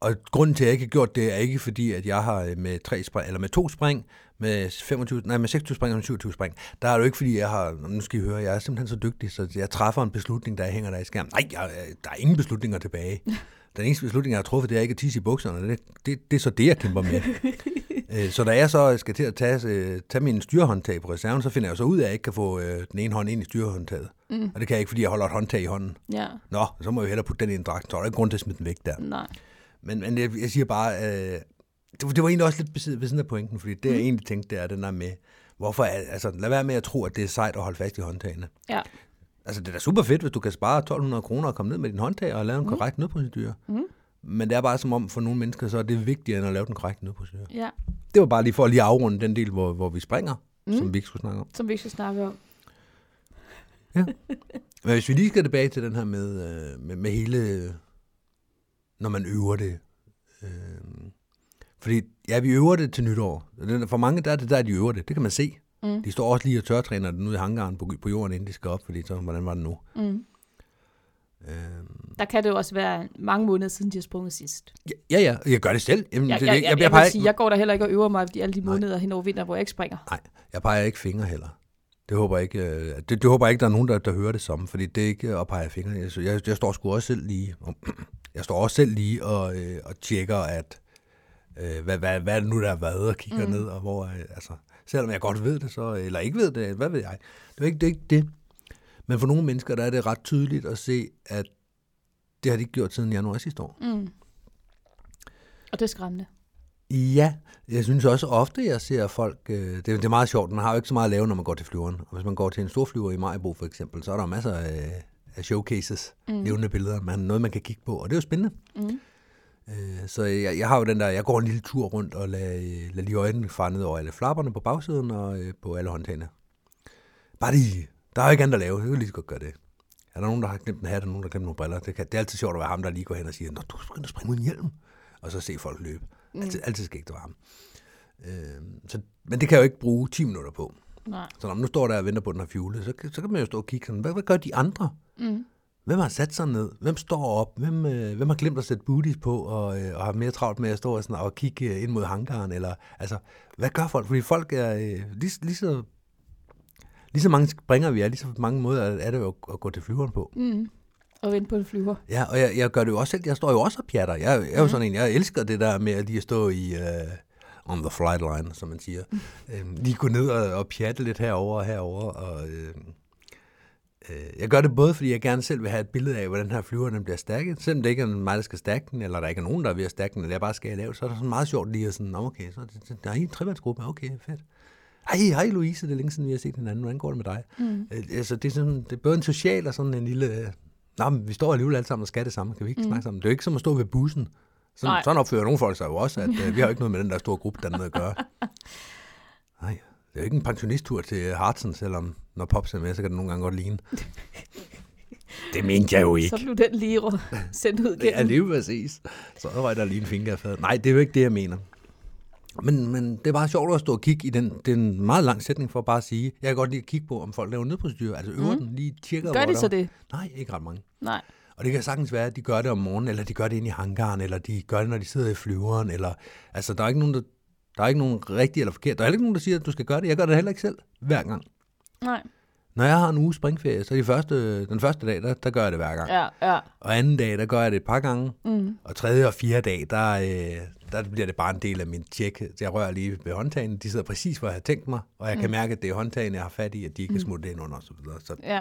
og grunden til, at jeg ikke har gjort det, er ikke fordi, at jeg har øh, med, tre spring, eller med to spring, med, 25, nej, med 26 spring og med 27 spring, der er det jo ikke, fordi jeg har, nu skal I høre, jeg er simpelthen så dygtig, så jeg træffer en beslutning, der hænger der i skærmen. Nej, jeg, jeg- der er ingen beslutninger tilbage. Den eneste beslutning, jeg har truffet, det er ikke at tisse i bukserne. Det, det, det er så det, jeg kæmper med. Øh, Så da jeg så skal til at tage, øh, tage min styrehåndtag på reserven, så finder jeg så ud af, at jeg ikke kan få øh, den ene hånd ind i styrehåndtaget. Mm. Og det kan jeg ikke, fordi jeg holder et håndtag i hånden.
Ja,
Nå, så må jeg jo hellere putte den i en dragt. Så er der ikke grund til at smide den væk der.
nej.
Men, men jeg, jeg siger bare, øh, det, var- det var egentlig også lidt ved siden- ved siden af pointen, fordi det, jeg egentlig tænkte, det er den der med, hvorfor, er- altså lad være med at tro, at det er sejt at holde fast i håndtagene.
Ja.
Altså det er da super fedt, hvis du kan spare 1200 kroner og komme ned med din håndtag og lave en korrekt nødprocedur. Mm. Men det er bare som om, for nogle mennesker, så er det vigtigere end at lave den korrekte nødprocedur.
Ja,
Det var bare lige for at lige afrunde den del, hvor, hvor vi springer, mm. som vi ikke skulle snakke om.
som vi ikke skal snakke om.
Men hvis vi lige skal tilbage til den her med, øh, med, med hele, øh, når man øver det. Øh, fordi, ja, vi øver det til nytår. Og den- For mange, der er det der, de øver det. Det kan man se. Mm. De står også lige og tørtræner den ud i hangaren på, på jorden, inden de skal op, fordi så, hvordan var det nu?
Mm.
Øh,
Der kan det jo også være mange måneder siden, de har sprunget sidst.
ja, ja, jeg gør det selv. Jamen,
Jeg,
det-
jeg, jeg, jeg, jeg,
peger
jeg,
ikke-
sige, jeg går der heller ikke og øver mig i alle de måneder hen over vinteren, hvor jeg ikke springer.
Nej, jeg peger ikke fingre heller. Det håber jeg ikke, øh, det, det håber jeg ikke der er nogen, der, der hører det som, fordi det er ikke øh, at pege fingre. Jeg, jeg, jeg står sgu også selv lige, jeg står også selv lige og, øh, og tjekker, at øh, hvad, hvad, hvad er det nu, der har været, og kigger mm. ned, og hvor, øh, altså, selvom jeg godt ved det, så, eller ikke ved det, hvad ved jeg. Det er ikke det. Er ikke det. Men for nogle mennesker, der er det ret tydeligt at se, at det har de ikke gjort siden januar sidste år.
Mm. Og det er skræmmende.
Ja, jeg synes også ofte, jeg ser folk... Øh, det, det er meget sjovt, man har jo ikke så meget at lave, når man går til flyveren. Og hvis man går til en storflyver i Majbo for eksempel, så er der jo masser af, af showcases, mm. levende billeder, man, noget man kan kigge på, og det er jo spændende.
Mm.
Øh, så jeg, jeg har jo den der, jeg går en lille tur rundt og lader, lader lige øjnene fare ned over alle flapperne på bagsiden og øh, på alle håndtagene. Bare lige, der er jo ikke andet at lave, så kan vi lige så godt gøre det. Er der nogen, der har glemt en hat, og nogen, der har glemt nogle briller? Det, kan, det er altid sjovt at være ham, der lige går hen og siger, Nå, du skal ind og springe uden hjelm. Og så se folk løbe. Altid, altid skægt at være ham. Øh, så, men det kan jeg jo ikke bruge 10 minutter på.
Nej.
Så når man nu står der og venter på, at den har fjule, så, kan- så kan man jo stå og kigge sådan, hvad, hvad gør de andre?
Mm.
Hvem har sat sig ned? Hvem står op? Hvem, øh, hvem har glemt at sætte booties på og, øh, og har mere travlt med at stå og, sådan, og kigge øh, ind mod hangaren? Eller, altså, hvad gør folk? Fordi folk er øh, lige, lige, så, lige så mange springer vi er, lige så mange måder er det jo at, at gå til flyveren på.
Mm. Og vente på en flyver.
Ja, og jeg, jeg gør det jo også selv. Jeg står jo også og pjatter. Jeg, jeg er jo sådan en, jeg elsker det der med at lige at stå i uh, on the flight line, som man siger. øhm, lige gå ned og, og pjatte lidt herover og herover. Og, øh, øh, jeg gør det både, fordi jeg gerne selv vil have et billede af, hvordan den her flyver den bliver stærket. Selvom det ikke er mig, der skal stærke den, eller der ikke er nogen, der er ved at stærke den, eller jeg bare skal lave, så er det sådan meget sjovt lige at sådan, "Nå, okay, så er det- der er en tremandsgruppe, okay, fedt. Hej, hej Louise, det er længe siden, vi har set hinanden. Hvordan går det med dig? Mm. Øh, altså, det er, sådan, det er både en social og sådan en lille... Øh, Nå, men vi står alligevel alle sammen og skal det samme. Kan vi ikke mm. snakke sammen? Det er jo ikke som at stå ved bussen. Sådan,
Nej.
sådan opfører nogle folk sig jo også, at øh, vi har jo ikke noget med den der store gruppe dernede at gøre. Nej, det er jo ikke en pensionisttur til Hartsen, selvom når Pops er med, så kan det nogle gange godt ligne. Det mente jeg jo ikke.
Så blev den lige rå- sendt ud
Det er
gennem.
lige præcis. Så røg der lige en finger af fadet. Nej, det er jo ikke det, jeg mener. Men, men det er bare sjovt at stå og kigge i den, den meget lang sætning for bare at sige, jeg kan godt lide at kigge på, om folk laver nødprocedurer, altså øver mm. den, lige tjekker.
Mhm. Gør
hvor
de så
der-
det?
Nej, ikke ret mange.
Nej.
Og det kan sagtens være, at de gør det om morgenen, eller de gør det inde i hangaren, eller de gør det, når de sidder i flyveren, eller altså, der er ikke nogen, der, der er ikke nogen rigtig eller forkert. Der er heller ikke nogen, der siger, at du skal gøre det. Jeg gør det heller ikke selv, hver gang.
Nej.
Når jeg har en uge springferie, så de første, den første dag, der, der gør jeg det hver gang.
Ja, ja.
Og anden dag, der gør jeg det et par gange.
Mm.
Og tredje og fjerde dag, der, øh, der bliver det bare en del af min tjek. Jeg rører lige ved håndtagene. De sidder præcis, hvor jeg har tænkt mig. Og
Mm.
jeg kan mærke, at det er håndtagene, jeg har fat i, at de ikke kan smutte ind under. og Så, videre. så,
ja.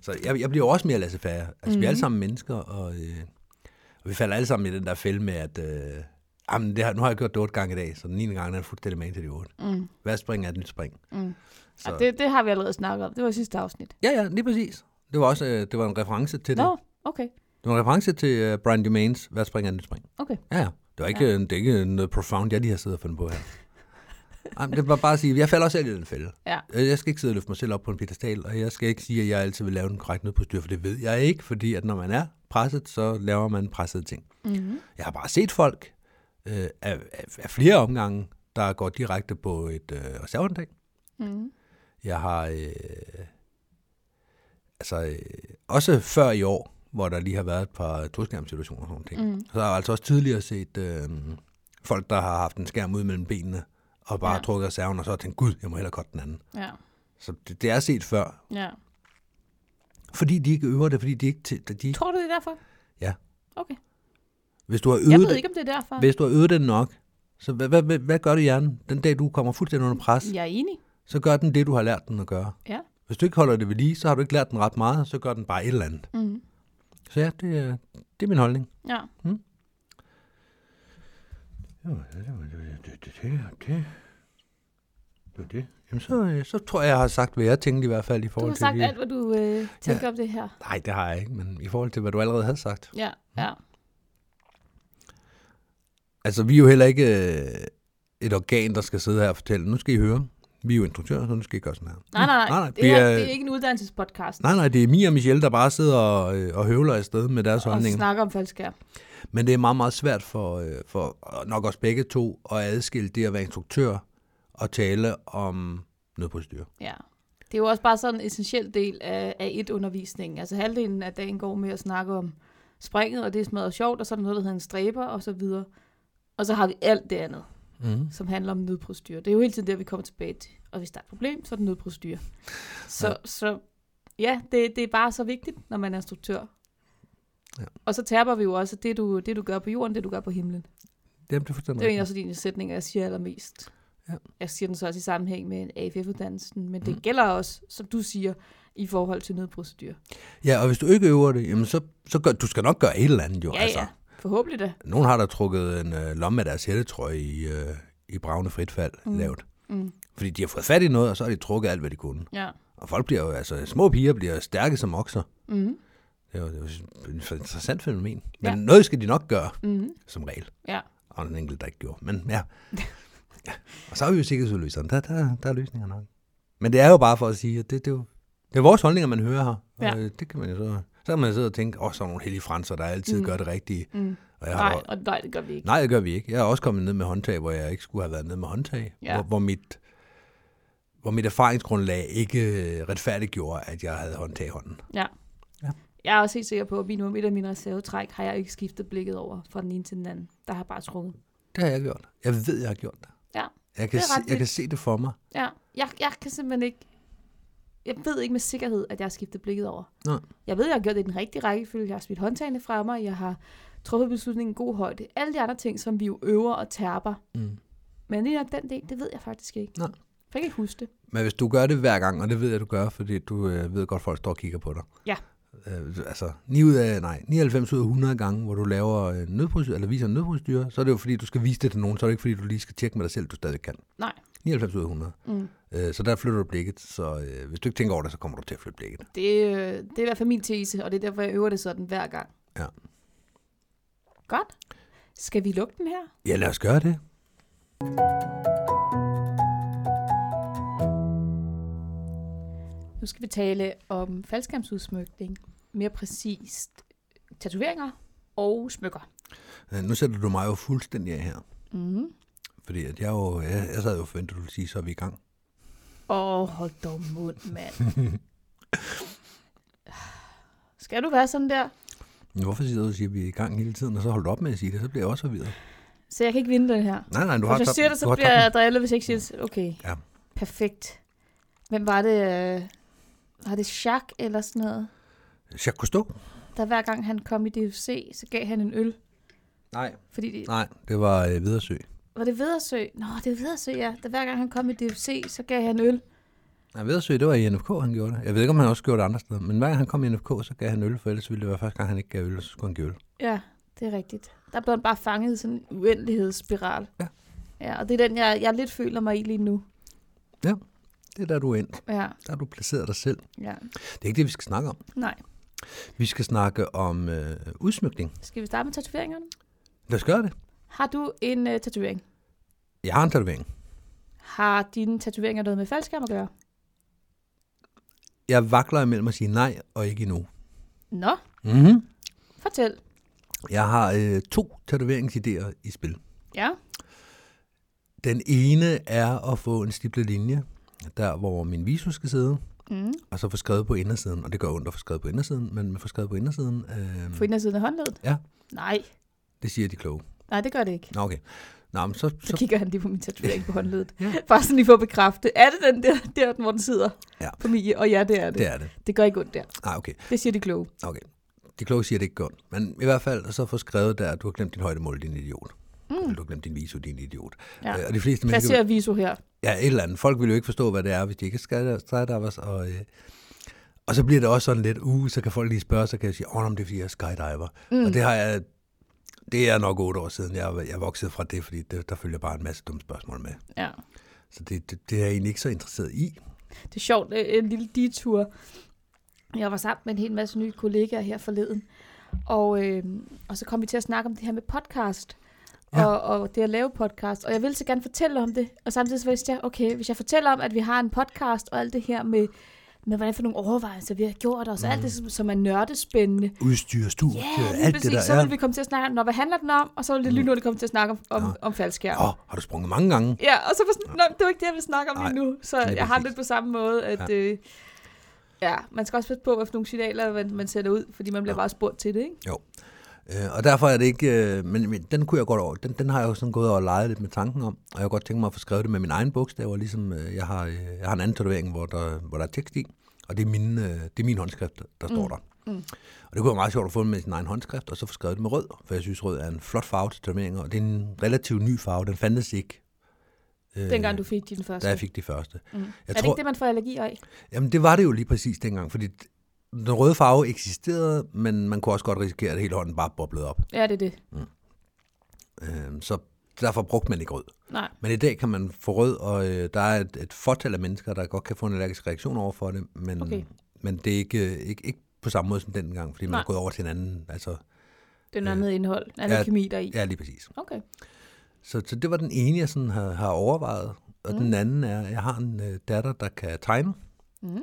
så jeg, jeg bliver jo også mere laissez-faire. Altså, vi er
Mhm.
alle sammen mennesker, og, øh, og vi falder alle sammen i den der fælde med, at øh, jamen, det har, nu har jeg gjort det otte gange i dag, så den 9. gang er jeg fuldstændig med til de otte.
Mm.
Hver spring er et nyt spring.
Mm.
Så,
Og det, det har vi allerede snakket om. Det var i sidste afsnit.
Ja, ja, lige præcis. Det var også øh, det var en reference til det.
Nå, okay.
Det var en reference til øh, Brian Dumains Hvad springer den spring?
Okay.
Ja, ja. Det var ikke, ja. det er ikke øh, noget profound, jeg lige har siddet og fundet på her. Ej, men det var bare at sige, jeg falder også selv i den fælde.
Ja.
Øh, Jeg skal ikke sidde og løfte mig selv op på en pedestal, og jeg skal ikke sige, at jeg altid vil lave den korrekte nødpostyr, for det ved jeg ikke, fordi at når man er presset, så laver man pressede ting.
Mm-hmm.
Jeg har bare set folk øh, af, af, af flere omgange, der går direkte på et øh, reserveanlæg.
Mm-hmm.
Jeg har øh, altså øh, også før i år, hvor der lige har været et par toskærmsituationer og sådan nogle ting.
Mm.
Mm. Så har jeg altså også tidligere set øh, folk, der har haft en skærm ud mellem benene og bare
Ja.
ja. trukket reserven, og så har tænkt, gud, jeg må hellere godt den anden.
Ja,
Så det, det er set før.
ja.
Fordi de ikke øver det, fordi de ikke... Til, de,
Tror du, det er derfor?
Ja.
Okay.
hvis du har
Jeg
øvet
ved
det,
ikke, om det er derfor.
hvis du har øvet det nok, så hvad, hvad, hvad, hvad gør du i hjernen? Den dag, du kommer fuldstændig under pres,
Jeg er enig.
så gør den det, du har lært den at gøre.
Ja.
Hvis du ikke holder det ved lige, så har du ikke lært den ret meget, så gør den bare et eller andet.
Mm-hmm.
Så ja, det er, det er min holdning.
Ja.
Det var det, det, det, det, det, det. Det var det. Jamen, så, øh, så tror jeg, jeg har sagt, hvad jeg tænkte i hvert fald i
Du
forhold
har
til...
sagt
de-
alt, hvad du øh, tænker ja. om det her.
Nej, det har jeg ikke, men i forhold til, hvad du allerede havde sagt.
Ja, ja.
Altså, vi er jo heller ikke øh, et organ, der skal sidde her og fortælle. Nu skal I høre. Vi er jo instruktører, så nu skal I gøre sådan her.
Nej, nej, nej.
Nej, nej,
det,
vi
her,
er-
det er ikke en uddannelsespodcast.
Nej, nej, det er Mia og Michelle, der bare sidder og, øh, og høvler afsted med deres
og
holdninger.
snakker om faldskærm.
Men det er meget, meget svært for, øh, for og nok også begge to at adskille det at være instruktør og tale om noget på styr.
Ja. Det er jo også bare sådan en essentiel del af, af et undervisning. Altså halvdelen af dagen går med at snakke om springet, og det er smadret sjovt, og så er der noget, der hedder en stræber, og så videre. Og så har vi alt det andet,
Mm.
som handler om nødprocedur. Det er jo hele tiden der, vi kommer tilbage til. Og hvis der er et problem, så er det nødprocedur. Så ja, så, ja det, det er bare så vigtigt, når man er instruktør.
Ja.
Og så taber vi jo også at det du, det, du gør på jorden, det du gør på himlen.
Jamen, det er fuldstændig
Det er jo en
rigtigt.
af de sætninger, jeg siger allermest.
Ja.
Jeg siger den så også i sammenhæng med AFF-uddannelsen, men det mm. gælder også, som du siger, i forhold til nødprocedur.
Ja, og hvis du ikke øver det, jamen så, så gør, du altså. skal nok gøre et eller andet jo.
Ja, ja. Forhåbentlig da.
Nogen har da trukket en øh, lomme af deres hættetrøje i, øh, i bravende fritfald mm. lavt.
Mm.
Fordi de har fået fat i noget, og så har de trukket alt, hvad de kunne.
Ja.
Og folk bliver jo, altså små piger bliver stærke som okser.
Mm.
Det er jo, det er jo et interessant fænomen. Men
Ja.
ja. noget skal de nok gøre,
Mm.
som regel.
Ja.
Og den enkelte, der ikke gjorde. Men ja. ja. Og så er vi jo sikkerhedsudløseren. Der, der, der er løsninger nok. Men det er jo bare for at sige, at det, det, er, jo, det er vores holdninger, man hører her.
Ja.
Og øh, det kan man jo så... Så kan man sidde og tænke, åh, oh, så er nogle heldige franser, der altid
Mm.
mm. gør det rigtige.
Mm.
Og jeg har
Nej,
da-
og nej, det gør vi ikke.
Nej, det gør vi ikke. Jeg er også kommet ned med håndtag, hvor jeg ikke skulle have været ned med håndtag.
Ja.
Hvor, hvor, mit, hvor mit erfaringsgrundlag ikke øh, retfærdiggjorde, at jeg havde håndtag i hånden.
Jeg er også helt sikker på, at minimum et af mine reservetræk har jeg ikke skiftet blikket over fra den ene til den anden. Der har jeg bare trukket.
Det har jeg gjort. Jeg ved, jeg har gjort det.
Ja,
Jeg kan,
det er ret
se, jeg
vildt.
kan se det for mig.
Ja, jeg, jeg kan simpelthen ikke... Jeg ved ikke med sikkerhed, at jeg har skiftet blikket over.
Nej.
Jeg ved, jeg har gjort det i den rigtige rækkefølge. Jeg har smidt håndtagene fra mig. Jeg har truffet beslutningen i god højde. Alle de andre ting, som vi jo øver og tærper.
Mm.
Men lige nok den del, det ved jeg faktisk ikke.
Nej.
Jeg kan ikke huske det.
Men hvis du gør det hver gang, og det ved jeg, du gør, fordi du øh, ved godt, folk står og kigger på dig.
Ja.
Øh, altså, 9 ud af, nej, 99 ud af 100 gange, hvor du laver øh, nødprocedur, eller viser en nødprocedur, så er det jo fordi, du skal vise det til nogen, så er det ikke fordi, du lige skal tjekke med dig selv, du stadig kan.
Nej.
99 ud af 100.
Mm.
Øh, så der flytter du blikket, så øh, hvis du ikke tænker over det, så kommer du til at flytte blikket.
Det, øh, det er i hvert fald min tese, og det er derfor, jeg øver det sådan hver gang.
Ja.
Godt. Skal vi lukke den her?
Ja, lad os gøre det.
Nu skal vi tale om faldskærmsudsmykning. Mere præcist tatoveringer og smykker.
Øh, nu sætter du mig jo fuldstændig af her,
Mm.
fordi at jeg, jo, jeg, jeg sad jo forventet, at du ville sige, så er vi i gang.
Åh, oh, hold dog mund, mand. Skal du være sådan der?
Men Hvorfor siger du, og siger, at vi er i gang hele tiden, og så holder du op med at sige det, så bliver jeg også forvirret.
Så jeg kan ikke vinde den her.
Nej, nej, du har
hvis jeg
tabt-
siger det, så
du har
bliver
tabt den.
jeg drillet, hvis jeg ikke siger det. Okay,
Ja.
perfekt. Hvem var det? øh, Har det Jacques eller sådan noget?
Jacques Cousteau?
Der hver gang han kom i DFC, så gav han en øl.
Nej.
Fordi det,
Nej, det var øh, Vidersø.
var det Vedersø? Nå, det er Vedersø, ja. Der hver gang han kom i DFC, så gav han øl.
Nej, Vedersø, det var i NFK, han gjorde det. Jeg ved ikke, om han også gjorde det andre steder, men hver gang han kom i NFK, så gav han øl, for ellers ville det være første gang, han ikke gav øl, så skulle han give øl.
Ja, det er rigtigt. Der blev han bare fanget i sådan en uendelighedsspiral.
Ja.
Ja, og det er den, jeg, jeg lidt føler mig i lige nu.
Det er der, du er endt.
Ja,
Der har du placeret dig selv.
ja.
Det er ikke det, vi skal snakke om.
Nej.
Vi skal snakke om øh, udsmykning.
Skal vi starte med tatoveringerne?
Lad os gøre det.
Har du en øh, tatovering?
Jeg har en tatovering.
Har dine tatoveringer noget med faldskærm at gøre?
Jeg vakler imellem at sige nej og ikke endnu.
Nå,
Mm-hmm.
fortæl.
Jeg har øh, to tatoveringsidéer i spil.
Ja,
Den ene er at få en stiplet linje, der hvor min visus skal sidde,
mm.
og så få skrevet på indersiden. Og det gør ondt at få skrevet på indersiden, men man får skrevet på indersiden.
på
Øh,
indersiden af håndledet?
Ja.
Nej,
det siger de kloge.
nej, det gør det ikke.
Nå, okay. Nå, men så,
Så
så,
kigger han lige på min tatovering på håndledet.
Ja.
Bare sådan lige for at bekræfte. Er det den der, der hvor den sidder?
Ja.
På min, og ja, det er det.
det er det.
Det gør ikke ondt der.
Ah, okay.
Det siger de kloge.
Okay. De kloge siger, at det ikke gør ondt. Men i hvert fald så få skrevet der, at du har glemt din højdemål, din idiot. Mm. Eller du har glemt din viso, din idiot.
Ja.
Øh, og de fleste
Placer viso her.
Ja, et eller andet. Folk vil jo ikke forstå, hvad det er, hvis de ikke skal skydiver. Og, øh, og så bliver det også sådan lidt, uh, så kan folk lige spørge, så kan jeg sige, åh, oh, det er fordi, jeg er skydiver. Mm. Og det har jeg, det er nok otte år siden, jeg, jeg voksede fra det, fordi det, der følger bare en masse dumme spørgsmål med.
Ja.
Så det, det, det er jeg egentlig ikke så interesseret i.
Det er sjovt, øh, en lille detur. Jeg var sammen med en hel masse nye kollegaer her forleden, og, øh, og så kom vi til at snakke om det her med podcast,
Ja.
ja. og, og det at lave podcast, og jeg ville så gerne fortælle om det, og samtidig så vidste jeg, okay, hvis jeg fortæller om, at vi har en podcast, og alt det her med, med hvordan for nogle overvejelser vi har gjort os, mm. alt det, som, som er nørdespændende,
Udstyr, studie,
Ja, Mm. lige
alt det
præcis.
der
Så
er.
ville vi komme til at snakke om, "Nå, hvad handler den om? Og så ville det lige nu, det komme til at snakke om, om, ja. om faldskærm.
Åh, oh, har du sprunget mange gange?
Ja, og så var sådan, "Nå, det var ikke det, jeg ville snakke om lige
Nej,
nu. Så
lige
jeg har
præcis.
lidt på samme måde, at ja. Øh, ja, man skal også passe på, hvad for nogle signaler man, man sender ud, fordi man bliver ja. bare spurgt til det, ikke?
Jo. Øh, og derfor er det ikke... Øh, men, men den kunne jeg godt over... Den, den har jeg jo sådan gået og leget lidt med tanken om, og jeg har godt tænkt mig at få skrevet det med mine egne bogstaver, ligesom øh, jeg, har, øh, jeg har en anden tatovering, hvor der, hvor der er tekst i, og det er, mine, øh, det er min håndskrift, der står der. Mm. Og det kunne være meget sjovt at få den med sin egen håndskrift, og så få skrevet det med rød, for jeg synes, rød er en flot farve til tatoveringer, og det er en relativt ny farve, den fandtes ikke,
Øh, Dengang du fik din første.
da jeg fik de første. Mm. Jeg
er det ikke det, man får allergi af?
Jamen, det var det jo lige præcis dengang, fordi den røde farve eksisterede, men man kunne også godt risikere, at hele hånden bare boblede op.
Ja, det er det.
Øh, så derfor brugte man ikke rød.
Nej.
Men i dag kan man få rød, og øh, der er et, et fortal af mennesker, der godt kan få en allergisk reaktion over for det, men,
Okay.
men det er ikke, øh, ikke, ikke på samme måde som dengang, fordi man
Nej.
er gået over til en anden. Altså,
Det er noget andet indhold, andet
ja,
kemi deri. Ja.
ja, lige præcis.
Okay.
Så, så det var den ene, jeg sådan har, har overvejet. Og mm. den anden er, jeg har en øh, datter, der kan tegne.
Mm.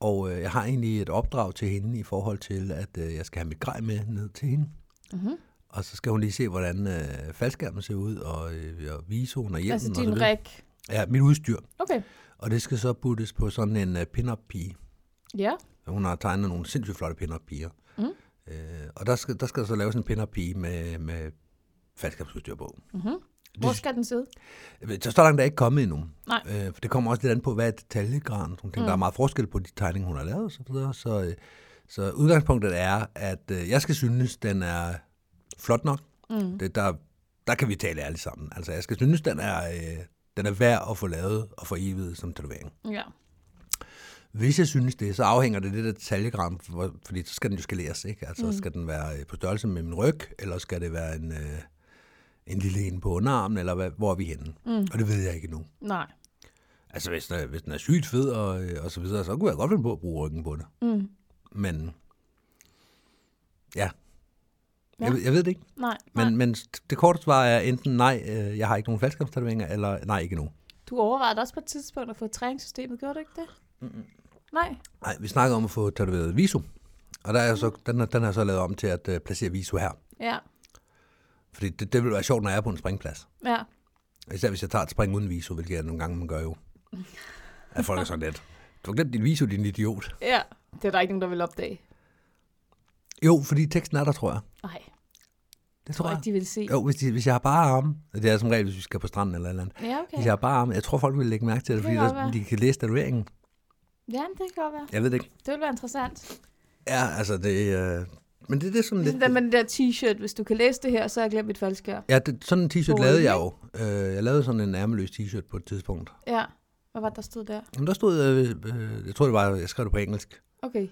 Og øh, jeg har egentlig et opdrag til hende i forhold til, at øh, jeg skal have mit grej med ned til hende.
Mhm.
Og så skal hun lige se, hvordan øh, faldskærmen ser ud, og, øh, og visoen og hjelmen.
altså
og så
din
videre.
ræk.
Ja, mit udstyr.
Okay.
Og det skal så puttes på sådan en uh, pin-up-pige.
Ja.
Hun har tegnet nogle sindssygt flotte pin-up-piger.
Mm.
Øh, og der skal, der skal så laves en pin-up-pige med, med faldskabsudstyr på.
Hvor skal den sidde?
Øh, Så står langt der ikke kommet endnu.
Nej.
Øh, for det kommer også lidt an på, hvad er detaljegraden. Hun tænker, mm. der er meget forskel på de tegninger, hun har lavet og så videre. Så, øh, så udgangspunktet er, at øh, jeg skal synes, den er flot nok. Mm. Det, der, der kan vi tale ærligt sammen. Altså, jeg skal synes, den er, øh, den er værd at få lavet og få evigt som tatovering.
Ja.
Hvis jeg synes det, så afhænger det lidt af detaljegram, hvor- fordi så skal den jo skaleres, ikke? Altså, mm. skal den være øh, på størrelse med min ryg, eller skal det være en, øh, en lille en på underarmen, eller hvad, hvor er vi henne? Mm. Og det ved jeg ikke endnu.
Nej.
Altså, hvis, der, hvis den er sygt fed og, øh, og så videre, så kunne jeg godt finde på at bruge ryggen på det.
Mm.
Men, ja.
Ja.
Jeg, ved- jeg ved det ikke.
Nej.
Men,
Men,
men det korte svar er enten nej, øh, jeg har ikke nogen faldskabstatoveringer, eller nej, ikke endnu.
du overvejede også på et tidspunkt at få træningssystemet, gjorde du ikke det? Mm-mm. Nej.
Nej, vi snakker om at få tatoveret viso. Og der er så, den, er- den har jeg så lavet om til at øh, placere viso her.
Ja.
Fordi det, det vil være sjovt, når jeg er på en springplads.
Ja.
Især hvis jeg tager et spring uden viso, hvilket jeg nogle gange man gør jo. At folk er sådan lidt. Du har glemt din viso, din idiot.
Ja. Det er der ikke nogen, der vil opdage.
Jo, fordi teksten er der, tror jeg.
Nej.
Det
tror
tror jeg.
ikke, de vil se.
Jo, hvis, de, hvis jeg har bare arme. Det er som regel, hvis vi skal på stranden eller et eller andet.
Ja,
Okay.
okay.
Hvis jeg har bare arme. Jeg tror, folk vil lægge mærke til det,
Det
fordi
kan godt
der,
være.
de kan læse tatoveringen.
Ja, det kan godt være.
Jeg ved det ikke.
Det ville være interessant.
Ja, altså det... Øh, men det, det er sådan lidt...
Ligesom den med den der t-shirt. Hvis du kan læse det her, så har jeg glemt mit faldskær.
Ja, det, sådan en t-shirt
Boring,
lavede jeg jo. Øh, jeg lavede sådan en ærmeløs t-shirt på et tidspunkt.
Ja. Hvad var det, der stod der?
Men der stod, øh, øh, jeg tror det var, jeg skrev det på engelsk.
Okay.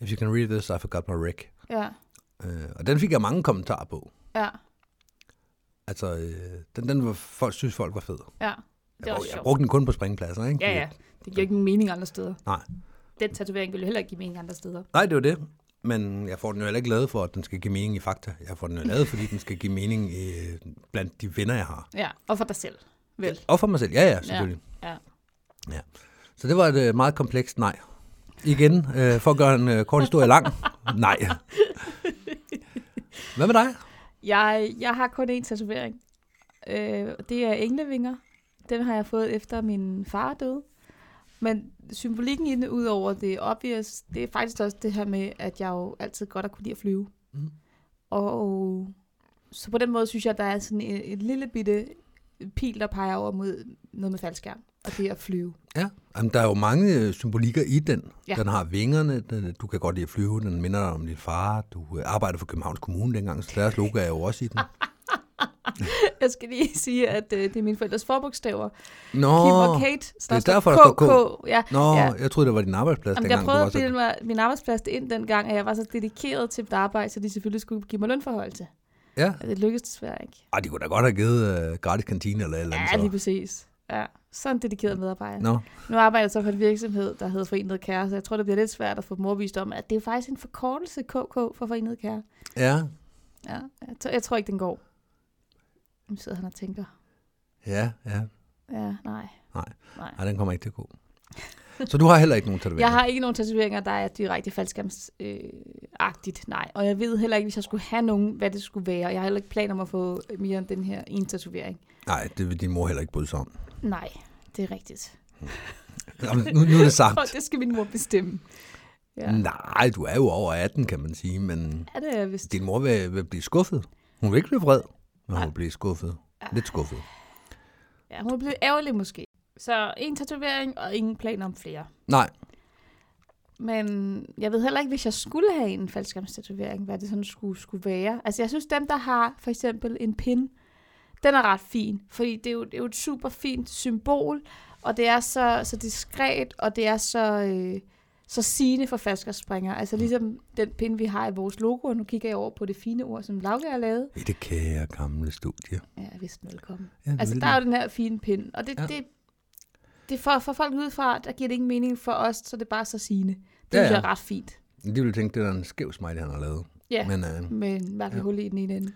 If you can read this, I forgot my rec.
Ja.
Øh, og den fik jeg mange kommentarer på.
Ja.
Altså, øh, den, den var, folk synes folk var fed.
Ja. Det
Jeg, brug,
er også
jeg
sjovt.
brugte den kun på springpladser, ikke?
Ja, ja. Det giver ikke nogen mening andre steder.
Nej.
Den tatovering ville heller ikke give mening andre steder.
Nej, det var det. Men jeg får den jo heller ikke lavet for, at den skal give mening i fakta. Jeg får den jo lavet, fordi den skal give mening i, blandt de venner, jeg har.
Ja. Og for dig selv. Vel.
Og for mig selv. Ja, ja, selvfølgelig.
Ja.
ja. Så det var et øh, meget komplekst nej. Igen, øh, for at gøre en øh, kort historie lang. Nej. Hvad med dig?
Jeg, jeg har kun én tatovering. Øh, og det er englevinger. Den har jeg fået efter min far døde. Men symbolikken i den, udover det obvious, det er faktisk også det her med, at jeg jo altid godt har kunne lide at flyve.
Mhm.
Og så på den måde synes jeg, der er sådan en, en lille bitte pil, der peger over mod noget med faldskærm. Og det er at flyve.
Ja, Jamen, der er jo mange øh, symbolikker i den.
Ja.
Ja. Den har vingerne, den, øh, du kan godt lide at flyve, den minder dig om din far, du øh, arbejder for Københavns Kommune dengang, så deres logo er jo også i den.
Jeg skal lige sige, at øh, det er mine forældres forbogstaver.
Nå,
Kim og Kate. Så
det er derfor, der
KK.
står
Ja,
Nå
ja.
ja. jeg troede, det var din arbejdsplads
Jamen,
Altså, dengang. du
jeg prøvede
var
at
så-
bilde mig min arbejdsplads ind dengang, at jeg var så dedikeret til mit arbejde, så de selvfølgelig skulle give mig lønforholdelse.
Ja,
Og det lykkedes desværre ikke.
Ej, de kunne da godt have givet øh, gratis kantine eller et eller andet.
Ja, lige
så.
præcis. Ja, sådan en dedikeret medarbejder.
Nå,
Nu arbejder jeg så på en virksomhed, der hedder Forenet Kære, så jeg tror, det bliver lidt svært at få dem overbevist om, at det er faktisk en forkortelse KK for Forenet Kære.
ja,
Ja, jeg, tror, jeg tror ikke, den går. Nu sidder han og tænker,
ja, ja.
ja, nej.
Ej, den kommer ikke til at gå. Så du har heller ikke nogen tatoveringer?
Jeg har ikke nogen tatoveringer, der er direkte faldskærmsagtigt, øh, nej. Og jeg ved heller ikke, hvis jeg skulle have nogen, hvad det skulle være. Jeg har heller ikke planer om at få mere end den her ene tatovering.
Nej, det vil din mor heller ikke bryde sig om.
Nej, det er rigtigt.
Jamen, nu, nu er det sagt.
Og det skal min mor bestemme. Ja,
Nej, du er jo over 18, kan man sige, men
ja det er vist.
din mor vil, vil blive skuffet. Hun vil ikke blive vred, men hun vil blive skuffet. Lidt skuffet.
Ja, hun er blevet ærgerlig måske. Så en tatovering og ingen planer om flere.
Nej,
Men jeg ved heller ikke, hvis jeg skulle have en faldskærmstatovering, hvad det sådan skulle, skulle være. Altså jeg synes, dem der har for eksempel en pin, den er ret fin, fordi det er jo, det er jo et super fint symbol, og det er så, så diskret, og det er så, øh, så sigende for falskerspringer. Altså ligesom den pin, vi har i vores logo, og nu kigger jeg over på det fine ord, som Lauke har lavet.
i det kære gamle studie.
Ja, vist velkommen.
Ja,
Altså,
vel.
der er jo den her fine pind, og det, ja.
Ja.
det, det for, for folk udefra, der giver det ingen mening for os, så det er bare så sigende.
Ja,
Det ja, ja.
ja.
er ret fint.
De ville tænke, det er da en skæv smiley, han har lavet.
Ja.
Men, øh,
Men mærkeligt ja. hul i den ene ende.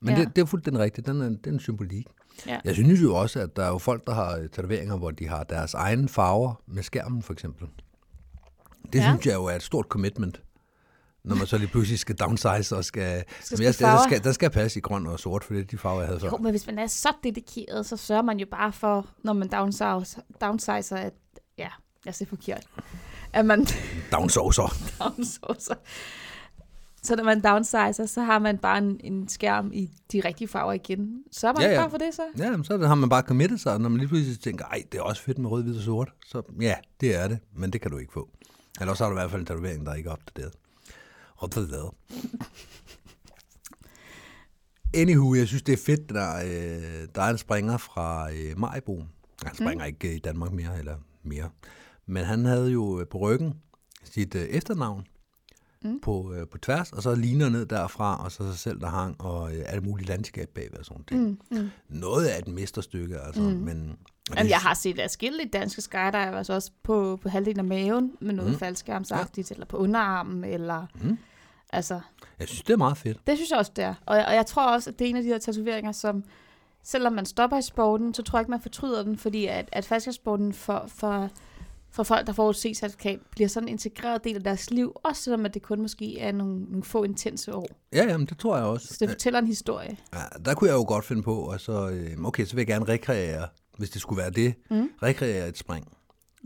Men
Ja.
ja. det, det er fuldstændig rigtigt. Den er, den er en symbolik.
Ja.
Jeg synes jo også, at der er jo folk, der har øh, tatoveringer, hvor de har deres egne farver med skærmen, for eksempel. Det
Ja.
ja. synes jeg jo er et stort commitment, når man så lige pludselig skal downsize og skal...
Skal
Jamen, jeg,
skifte
der,
farver.
skal, der skal jeg passe i grøn og sort, for det er de farver, jeg havde før.
Jo, men hvis man er så dedikeret, så sørger man jo bare for, når man downsize, downsizer, at ja, jeg ser forkert, at man
Downsaucer.
downsizer. Så når man downsizer, så har man bare en, en skærm i de rigtige farver igen. Så er man
Ja,
ja, ja.
ja.
bare for det så.
Ja, men så har man bare committet sig, og når man lige pludselig tænker, ej, det er også fedt med rød, hvid og sort. Så ja, det er det, men det kan du ikke få. Eller så har du i hvert fald en tatovering, der ikke er opdateret. Opdateret. Anywho, jeg synes, det er fedt, der, øh, der er en springer fra øh, Majbo. Han springer mm. ikke øh, i Danmark mere, eller mere. Men han havde jo øh, på ryggen sit øh, efternavn mm. på, øh, på tværs, og så ligner ned derfra, og så sig selv, der hang, og øh, alt muligt landskab bagved og sådan ting. Mm noget af et mesterstykke, altså. Mm. Men, og
Jamen, jeg har set adskillige danske skydivers også på, på halvdelen af maven med noget mm. faldskærmsagtigt, ja. eller på underarmen, eller... Mm. Altså,
jeg synes, det er meget fedt.
det synes jeg også, det er. Og, og jeg tror også, at det er en af de her tatoveringer, som selvom man stopper i sporten, så tror jeg ikke, man fortryder den, fordi at, at faldskærmssporten for, for, for folk, der får et C-certifikat, bliver sådan en integreret del af deres liv, også selvom at det kun måske er nogle, nogle få intense år.
Ja, jamen, det tror jeg
Så
også.
det fortæller en historie.
Ja, der kunne jeg jo godt finde på, og så, øh, okay, så vil jeg gerne rekreere, hvis det skulle være det, mm. rekreere et spring.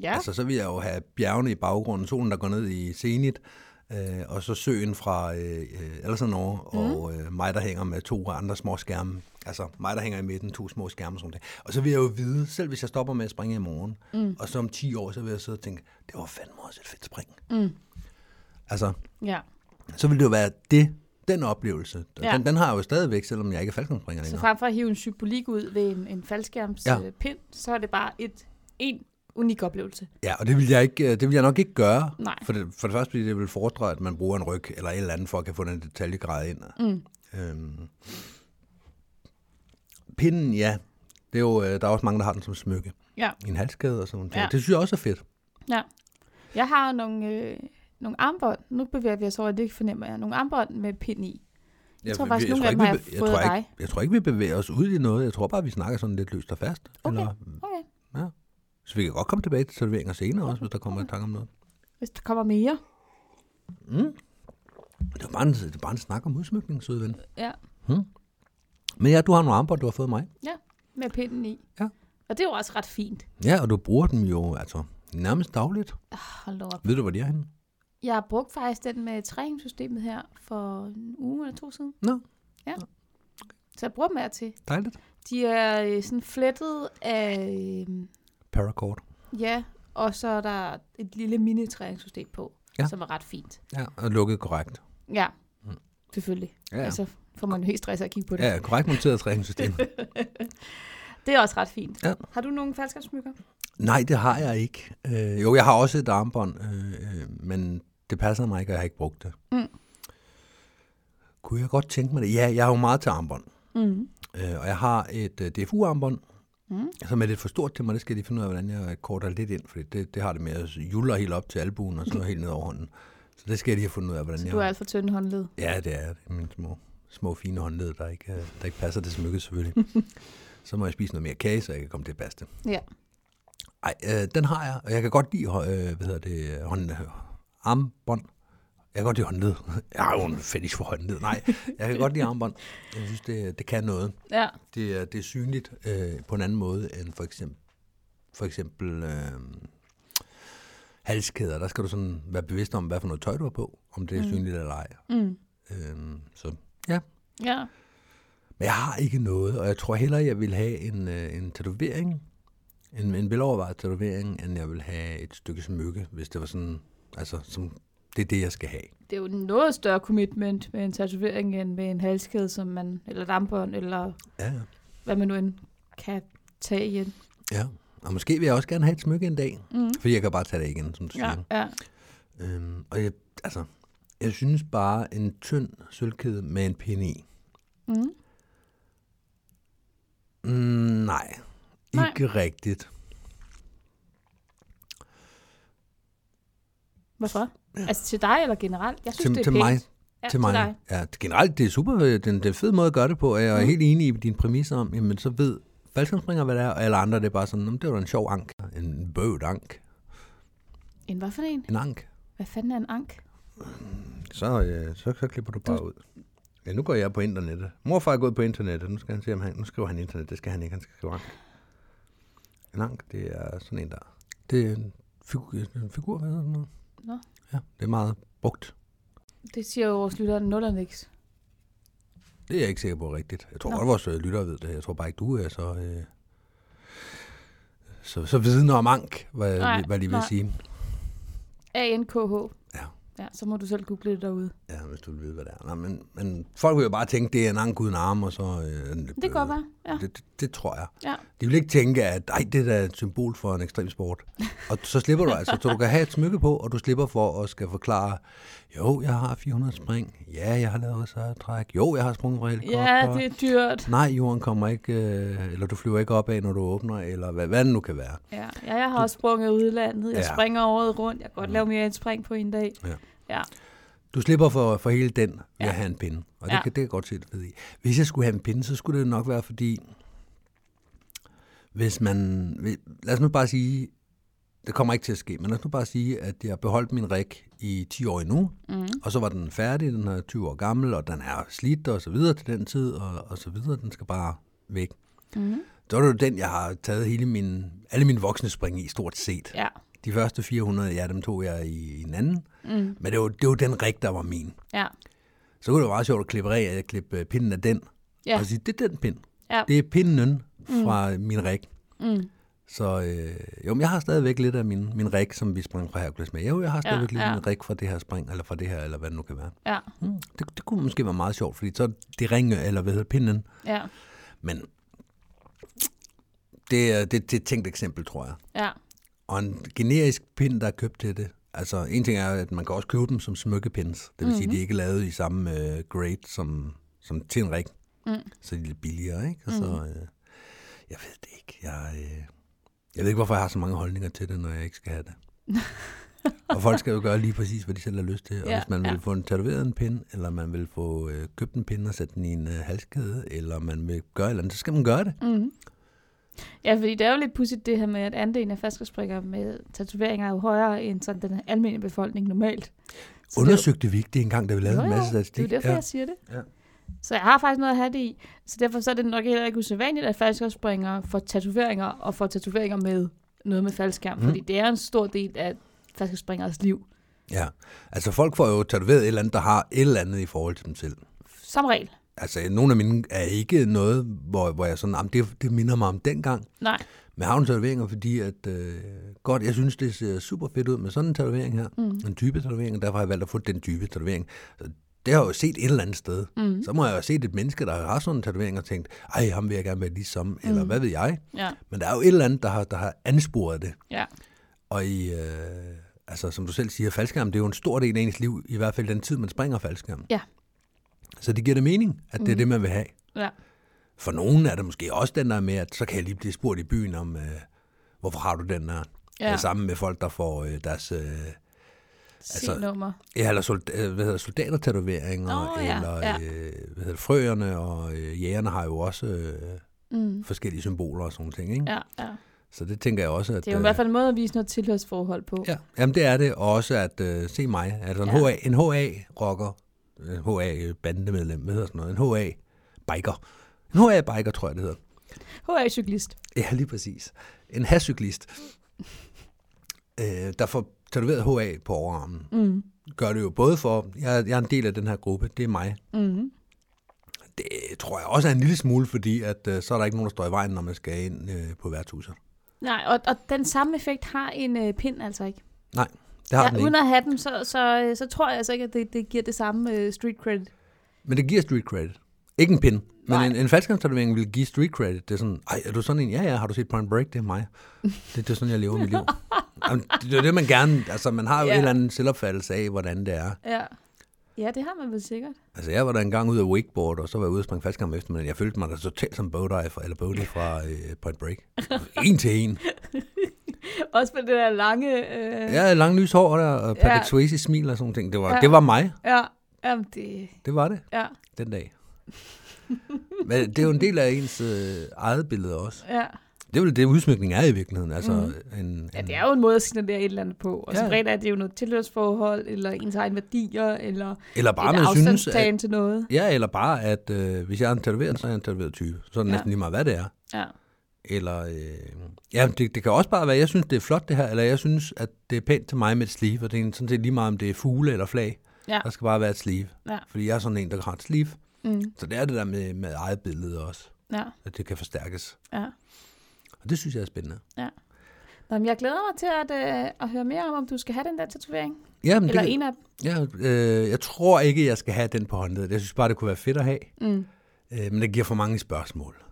Ja,
Altså, så vil jeg jo have bjergene i baggrunden, solen, der går ned i zenit, Øh, og så søen fra øh, Allison
Mhm.
over, mm. og øh, mig, der hænger med to andre små skærme. Altså mig, der hænger i midten, to små skærme og sådan noget. Og så vil jeg jo vide, selv hvis jeg stopper med at springe i morgen, mm. og så om 10 år, så vil jeg sidde og tænke, det var fandme også et fedt spring.
Mm.
Altså,
Ja.
så vil det jo være det, den oplevelse.
Ja.
Ja. Den, den har jeg jo stadigvæk, selvom jeg ikke er faldskærmspringer
Så
længere.
frem for at hive en symbolik ud ved en, en
Ja.
faldskærmspind, ja. så er det bare et en unik oplevelse.
Ja, og det vil jeg, ikke, øh, det vil jeg nok ikke gøre.
Nej.
For det, for det første, fordi det vil foredre, at man bruger en ryg eller et eller andet, for at kan få den detaljegrad ind.
Mm.
Øhm. Pinden, ja. Det er jo, øh, der er også mange, der har den som smykke.
Ja.
I en halskæde og sådan noget.
Ja.
Ja. Det synes jeg også er fedt.
Ja. Jeg har nogle, øh, nogle armbånd. Nu bevæger vi os over, det fornemmer jeg. Nogle armbånd med pind i. Jeg tror
vi-
faktisk, nogle af
ikke,
dem har
vi-
jeg fået
tror
af
ikke, jeg tror ikke, vi bevæger os ud i noget. Jeg tror bare, vi snakker sådan lidt løst og fast.
Okay.
Eller,
Okay.
så vi kan godt komme tilbage til serveringer senere også, hvis der kommer i tanke om noget.
Hvis der kommer mere.
Mm. Det er bare en, det er bare en snak om udsmykning, søde ven.
Ja.
Men ja, du har nogle armbånd, du har fået af mig.
Med pinden i.
Ja.
Og det er jo også ret fint.
Ja, og du bruger dem jo altså nærmest dagligt.
Ah, Hold da op.
Ved du, hvor de er henne?
Jeg har brugt faktisk den med træningssystemet her for en uge eller to siden.
Nå.
Ja. Så jeg bruger dem her til.
Dejligt.
De er øh, sådan flettet af, øh,
Paracord.
ja, og så er der et lille mini-træningssystem på, ja.
Ja.
som er ret fint.
Ja, og lukket korrekt.
Ja, selvfølgelig.
Ja, ja.
Altså får man jo helt stress af at kigge på det.
Ja, korrekt monteret træningssystem.
Det er også ret fint.
Ja.
Har du nogle faldskabssmykker?
Nej, det har jeg ikke. Øh, jo, jeg har også et armbånd, øh, øh, men det passer mig ikke, og jeg har ikke brugt det.
Mm.
Kunne jeg godt tænke mig det? Ja, jeg har jo meget til armbånd.
Mm.
Øh, og jeg har et øh, DFU-armbånd,
Mm.
som er lidt for stort til mig. Det skal jeg lige finde ud af, hvordan jeg korter lidt ind, for det, det har det med at juller helt op til albuen, og så helt ned over hånden. Så det skal jeg lige have fundet ud af, hvordan
Så
jeg...
du har alt for tynde håndled.
Ja, det er det. Mine små, små fine håndled, der ikke, øh, der ikke passer det smykke selvfølgelig. så må jeg spise noget mere kage, så jeg kan komme til at passe det.
Ja.
Ej, øh, den har jeg, og jeg kan godt lide, hå- øh, hvad hedder det, hånd, armbånd. Jeg kan godt lide håndled. Jeg har jo en fetish for håndled. Nej, jeg kan godt lide armbånd. Jeg synes, det, det kan noget.
Ja.
Det er, det er synligt øh, på en anden måde end for eksempel, for eksempel øh, halskæder. Der skal du sådan være bevidst om, hvad for noget tøj du har på, om det er
Mm.
synligt eller ej.
Mm.
Øhm, så.
Ja.
Men jeg har ikke noget, og jeg tror hellere, jeg vil have en, øh, en tatovering, en, en velovervejet tatovering, end jeg vil have et stykke smykke, hvis det var sådan, altså, som, det er det, jeg skal have.
Det er jo en noget større commitment med en tatovering end med en halskæde, som man, eller et armbånd, eller
Ja, ja.
hvad man nu end kan tage igen.
ja. Og måske vil jeg også gerne have et smykke en dag,
Mm.
fordi jeg kan bare tage det igen, som du
Ja,
siger.
ja.
Øhm, og jeg, altså, jeg synes bare, en tynd sølvkæde med en pinde i.
Mm.
Mm, nej,
Nej.
ikke rigtigt.
Hvorfor? Altså til dig eller generelt? Jeg synes,
Til-
det er
til
pænt.
mig.
Ja,
til mig.
dig.
Ja, det- generelt, det er super, øh, det er, en- det er en fed måde at gøre det på, og jeg er
Mm.
mm. helt enig i din præmis om, jamen så ved faldskabsspringer, hvad det er, og alle andre, det er bare sådan, "Nå, men det var da en sjov ank. En bøvd ank.
En hvad for en?
En ank.
Hvad fanden er en ank?
Så, øh, så, så klipper du bare ud. Ja, nu går jeg på internettet. Morfar er gået på internettet. Nu skal han se, om han, nu skriver han internet. Det skal han ikke, han skal skrive ank. En ank, det er sådan en der. Det er en, figu- en figur, hvad hedder sådan noget?
Nå.
Ja, det er meget brugt.
Det siger jo vores lytter nul og niks.
Det er jeg ikke sikker på er rigtigt. Jeg tror
Nå.
godt, vores øh, lyttere ved det. Jeg tror bare ikke, du er så... Øh, så, så vidende om ank, hvad,
Nej,
nej, hvad de vil
nej.
sige.
A-N-K-H.
Ja.
Ja, så må du selv google det derude.
Ja, hvis du vil vide, hvad det er. Nej, men, men folk vil jo bare tænke, det er en ank uden arme, og så... Øh, en
Det kan godt være. Ja.
Det, det, det tror jeg.
Ja.
De vil ikke tænke, at Ej, det er da et symbol for en ekstrem sport. Og så slipper du altså, så du kan have et smykke på, og du slipper for at skal forklare, jo, jeg har 400 spring, ja, jeg har lavet sejrtræk, jo, jeg har sprunget fra helikopter.
Ja, det er dyrt.
Nej, jorden kommer ikke, øh, eller du flyver ikke op af, når du åbner, eller hvad, hvad det nu kan være.
Ja, ja jeg har også sprunget i udlandet. Jeg ja.
Ja. Mm.
springer året rundt. Jeg kan godt lave mere end spring på en dag.
Ja.
Ja.
Du slipper for, for hele den ved
Ja.
ja. at have en pinde, og det,
Ja.
ja. kan, det kan jeg godt se det ved i. Hvis jeg skulle have en pinde, så skulle det nok være, fordi hvis man, hvis- lad os nu bare sige, det kommer ikke til at ske, men lad os nu bare sige, at jeg beholdt min ræk i 10 år endnu,
Mm.
og så var den færdig, den er 20 år gammel, og den er slidt og så videre til den tid, og, og så videre, den skal bare væk.
Mm.
Så er det jo den, jeg har taget hele min, alle mine voksne spring i, stort set.
Ja.
De første 400, ja, dem tog jeg i, i en anden.
Mm.
Men det var, det var den rig, der var min.
Ja.
Så kunne det være meget sjovt at klippe, af, at klippe øh, pinden af den.
Ja.
Og sige, det er den pind.
Ja.
Det er pinden fra mm. min rig.
Mm.
Så øh, jo, men jeg har stadigvæk lidt af min, min rig, som vi sprang fra Hercules med. Jo, jeg har stadigvæk ja, lidt
ja.
ja. min rig fra det her spring, eller fra det her, eller hvad det nu kan være.
Ja.
Mm. Det, det kunne måske være meget sjovt, fordi så er det ringe, eller hvad hedder pinden.
Ja.
Men det er, det, det er et tænkt eksempel, tror jeg.
Ja.
Og en generisk pind, der er købt til det. Altså, en ting er, at man kan også købe dem som smykkepins. Det vil mm-hmm.
Mhm.
sige, at de ikke er lavet i samme øh, grade som, som til en rig.
Mm.
Så de er lidt billigere, ikke? Og så, øh, jeg ved det ikke. Jeg, øh, jeg ved ikke, hvorfor jeg har så mange holdninger til det, når jeg ikke skal have det. og folk skal jo gøre lige præcis, hvad de selv har lyst til. Og
Ja,
ja, hvis man vil
ja.
få en tatoveret en pind, eller man vil få øh, købt en pind og sætte den i en øh, halskæde, eller man vil gøre et eller andet, så skal man gøre det.
Mm. Ja, fordi det er jo lidt pudsigt det her med, at andelen af flaskersprikker med tatoveringer er jo højere end sådan den almindelige befolkning normalt. Så det er jo-
Undersøgte vi ikke det engang, da vi lavede
Nå
en
jo,
masse
Det er jo
statistik?
derfor, ja. jeg siger det.
Ja.
Så jeg har faktisk noget at have det i. Så derfor så er det nok heller ikke usædvanligt, at faldskærmsspringere får tatoveringer, og får tatoveringer med noget med faldskærm. Mm.
Mm.
Fordi det er en stor del af faldskærmsspringeres liv.
Ja, altså folk får jo tatoveret et eller andet, der har et eller andet i forhold til dem selv.
Som regel.
Altså, nogle af mine er ikke noget, hvor, hvor jeg sådan, "Jamen, det, det minder mig om dengang.
Nej.
Men jeg har nogle tatoveringer, fordi at, øh, godt, jeg synes, det ser super fedt ud med sådan en tatovering her. Mm. En type tatovering, og derfor har jeg valgt at få den type tatovering. Så det har jeg jo set et eller andet sted. Mm. Så må jeg jo have set et menneske, der har sådan en tatovering, og tænkt, ej, ham vil jeg gerne være ligesom, mm. eller hvad ved jeg.
Ja.
Men der er jo et eller andet, der har, der har ansporet det.
Ja.
Og i, øh, altså, som du selv siger, faldskærm, det er jo en stor del af ens liv, i hvert fald den tid, man springer faldskærm.
Ja. Mhm.
Så det giver det mening, at det er det, man vil have.
Ja.
For nogen er det måske også den der med, at så kan jeg lige blive spurgt i byen om, øh, hvorfor har du den der?
Ja.
Ja. Sammen med folk, der får øh, deres øh,
Altså, nummer.
ja, eller solda- øh, hvad hedder, soldatertatoveringer,
Nå, ja,
eller
ja.
Øh, hvad hedder, det, frøerne og øh, jægerne har jo også øh,
Mm.
forskellige symboler og sådan nogle ting. Ikke?
Ja, ja.
Så det tænker jeg også, at...
Det er jo i
øh,
hvert fald en måde at vise noget tilhørsforhold på.
Ja, jamen det er det. Og også at øh, se mig. Altså en
Ja.
ja. HA, en HA-rocker, en HA-bandemedlem, hvad hedder sådan noget, en HA-biker. En HA-biker, tror jeg, det hedder.
HR-cyklist.
Ja, lige præcis. En hascyklist, øh, der får tatoveret HA på overarmen.
Mm.
Gør det jo både for, jeg, jeg er en del af den her gruppe, det er mig.
Mm.
Det tror jeg også er en lille smule, fordi at, øh, så er der ikke nogen, der står i vejen, når man skal ind øh, på værtshuset.
Nej, og, og den samme effekt har en øh, pind altså ikke.
Nej, det har ja, den
Ja,
ikke.
uden at have den, så, så, øh, så tror jeg altså ikke, at det, det giver det samme øh, street credit.
Men det giver street credit. Ikke en pin.
Nej.
Men en, en faldskærmstatovering vil give street credit. Det er sådan, ej, er du sådan en? Ja, ja, har du set Point Break? Det er mig. Det, det er sådan, jeg lever mit liv. Jamen, det, det er det, man gerne... Altså, man har jo
Ja.
yeah. en eller anden selvopfattelse af, hvordan det er.
Ja. Ja, det har man vel sikkert.
Altså, jeg var der engang ude af wakeboard, og så var jeg ude og springe faldskærm efter, men jeg følte mig da totalt som Bodie fra, eller Bodie fra øh, Point Break. En til en.
Også med det der lange... Øh...
Jeg havde langt lys hår der, og Patrick
Ja.
yeah. Swayze smil og sådan nogle ting. Det var,
Ja.
yeah. det var mig.
Ja, jamen det...
Det var det,
Ja,
den dag. Men det er jo en del af ens øh, eget billede også.
ja.
Det er vel det, udsmykning er i virkeligheden. Altså, mm. en, en,
Mhm. ja, det er jo en måde at signalere et eller andet på. Og ja.
Ja.
som regel er det jo noget tilhørsforhold, eller ens egen værdier, eller
Eller bare,
en
man synes, at,
afstandstagen til noget.
ja, eller bare, at øh, hvis jeg er en tatoveret, så er jeg en tatoveret type. Så er det
Ja.
ja. næsten lige meget, hvad det er.
Ja.
Eller, øh, ja, det, det kan også bare være, jeg synes, det er flot det her, eller jeg synes, at det er pænt til mig med et sleeve, og det er sådan set lige meget, om det er fugle eller flag.
Ja.
Der skal bare være et sleeve.
Ja.
Fordi jeg er sådan en, der har et sleeve.
Mm.
Så det er det der med, med eget billede også,
Ja,
at det kan forstærkes.
ja.
Og det synes jeg er spændende.
Nå, men jeg glæder mig til at, øh, at høre mere om, om du skal have den der tatovering.
Jamen,
eller
det,
en af dem.
ja, øh, jeg tror ikke, jeg skal have den på håndledet. Jeg synes bare, det kunne være fedt at have.
Mm.
Øh, men det giver for mange spørgsmål.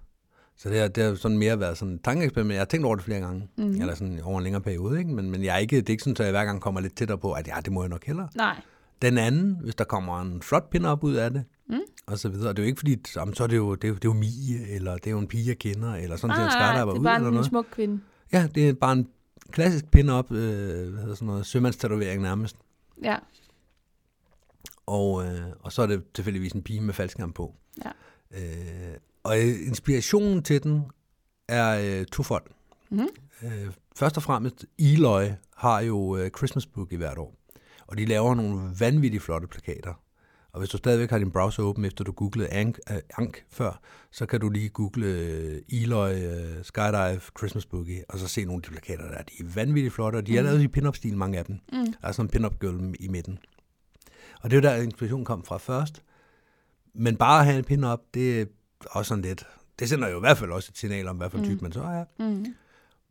Så det har, det har sådan mere været sådan et tankeeksperiment. Jeg har tænkt over det flere gange, mm.
Mhm.
eller sådan over en længere periode, ikke? Men, men jeg er ikke, det er ikke sådan, at jeg hver gang kommer lidt tættere på, at ja, det må jeg nok hellere.
Nej.
Den anden, hvis der kommer en flot pin op ud af det,
Mm.
og så videre. Og det er jo ikke fordi, jamen, så er det jo, det er, jo- det er jo Mie, eller det er jo en pige, jeg kender, eller sådan set en
nej,
skarter
Ah, det
ud,
er bare
eller
en
noget.
smuk kvinde.
Ja, det er bare en klassisk pin op, øh, hvad hedder sådan noget, sømandstatovering nærmest.
Ja,
Og, øh, og så er det tilfældigvis en pige med faldskærm på.
Ja.
Øh, og øh, inspirationen til den er øh, tofold.
Mhm.
Øh, først og fremmest, Eloy har jo øh, Christmas Book i hvert år. Og de laver nogle vanvittigt flotte plakater. Og Og hvis du stadigvæk har din browser åben, efter du googlede Ank, øh, Ank før, så kan du lige google øh, Eloy øh, Skydive Christmas Boogie, og så se nogle af de plakater der. De er vanvittigt flotte, og de
Mhm.
er lavet i pin-up-stil, mange af dem. Mm. Der er sådan en pin-up girl i midten. Og det er jo der, inspirationen kom fra først. Men bare at have en pin-up, det er også sådan lidt... Det sender jo i hvert fald også et signal om, hvad for en type man så er.
Mm.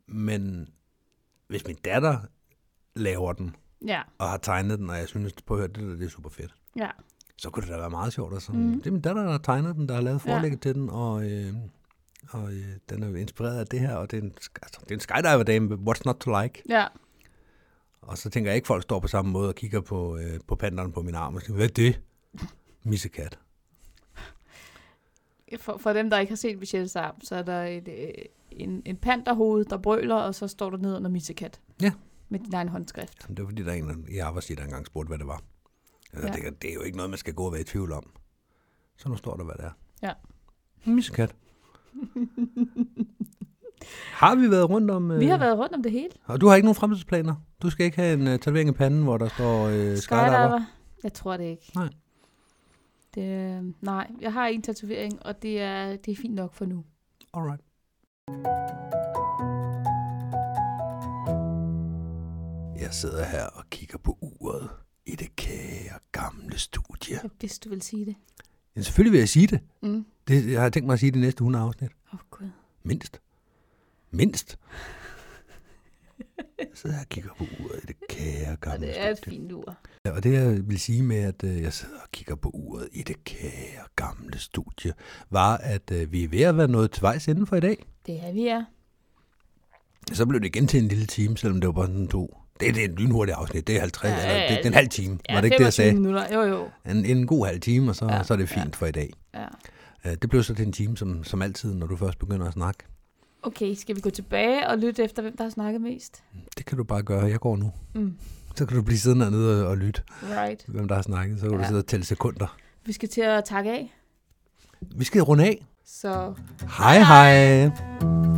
Men hvis min datter laver den,
Ja,
og har tegnet den, og jeg synes, på at høre, det, der, det er super fedt,
ja.
så kunne det da være meget sjovt. Og sådan. Mm. Det er min datter, der har tegnet den, der har lavet forlægget ja. til den, og, øh, og øh, den er jo inspireret af det her, og det er en, sk- altså, det er en skydiver-dame, what's not to like?
Ja,
Og så tænker jeg ikke, folk står på samme måde og kigger på, øh, på panderen på min arm og siger, hvad er det? Missekat.
for, for dem, der ikke har set Michelle Sam, så er der et, øh, en, en panderhoved, der brøler, og så står der ned under missekat.
Ja.
Med din egen håndskrift.
Jamen, det var fordi, der er en i arbejdslivet, der engang spurgte, hvad det var. Jeg
Ja.
ja. tænker, det er jo ikke noget, man skal gå og være i tvivl om. Så nu står der, hvad det er.
Ja.
En missekat. har vi været rundt om... Øh...
Vi har været rundt om det hele.
Og du har ikke nogen fremtidsplaner? Du skal ikke have en uh, tatovering i panden, hvor der står uh, skydiver?
Jeg tror det ikke.
Nej.
Det, øh, nej, jeg har en tatovering, og det er, det er fint nok for nu.
Alright. Jeg sidder her og kigger på uret i det kære gamle studie.
Ja, Hvis du vil sige det.
Ja, selvfølgelig vil jeg sige det.
Mm.
det. Jeg har tænkt mig at sige det i næste 100 afsnit.
Åh, oh, Gud.
Mindst. Mindst. Jeg sidder her og kigger på uret i det kære
Og
gamle
det er et
studie.
fint ur.
Ja, Og det jeg vil sige med, at øh, jeg sidder og kigger på uret i det kære gamle studie, var, at øh, vi er ved at være nået til vejs inden for i dag.
Det er vi er.
Så blev det igen til en lille time, selvom det var bare sådan to. Det, det er en lynhurtig afsnit, det er 50,
Ja,
ja, eller, det, det er en
ja,
halv time,
Ja,
var det ikke det, jeg
25
sagde?
minutter. Jo, jo.
En, en god halv time, og så,
Ja,
ja, så er det fint ja. for i dag.
Ja.
Øh, Det blev så til en time, som, som altid, når du først begynder at snakke.
Okay, skal vi gå tilbage og lytte efter, hvem der har snakket mest?
Det kan du bare gøre, jeg går nu.
Mm.
Så kan du blive siddende hernede og, og lytte,
Right.
hvem der har snakket, så kan ja. du
Ja.
sidde og tælle sekunder.
Vi skal til at takke af.
Vi skal runde af.
Så
Hej hej!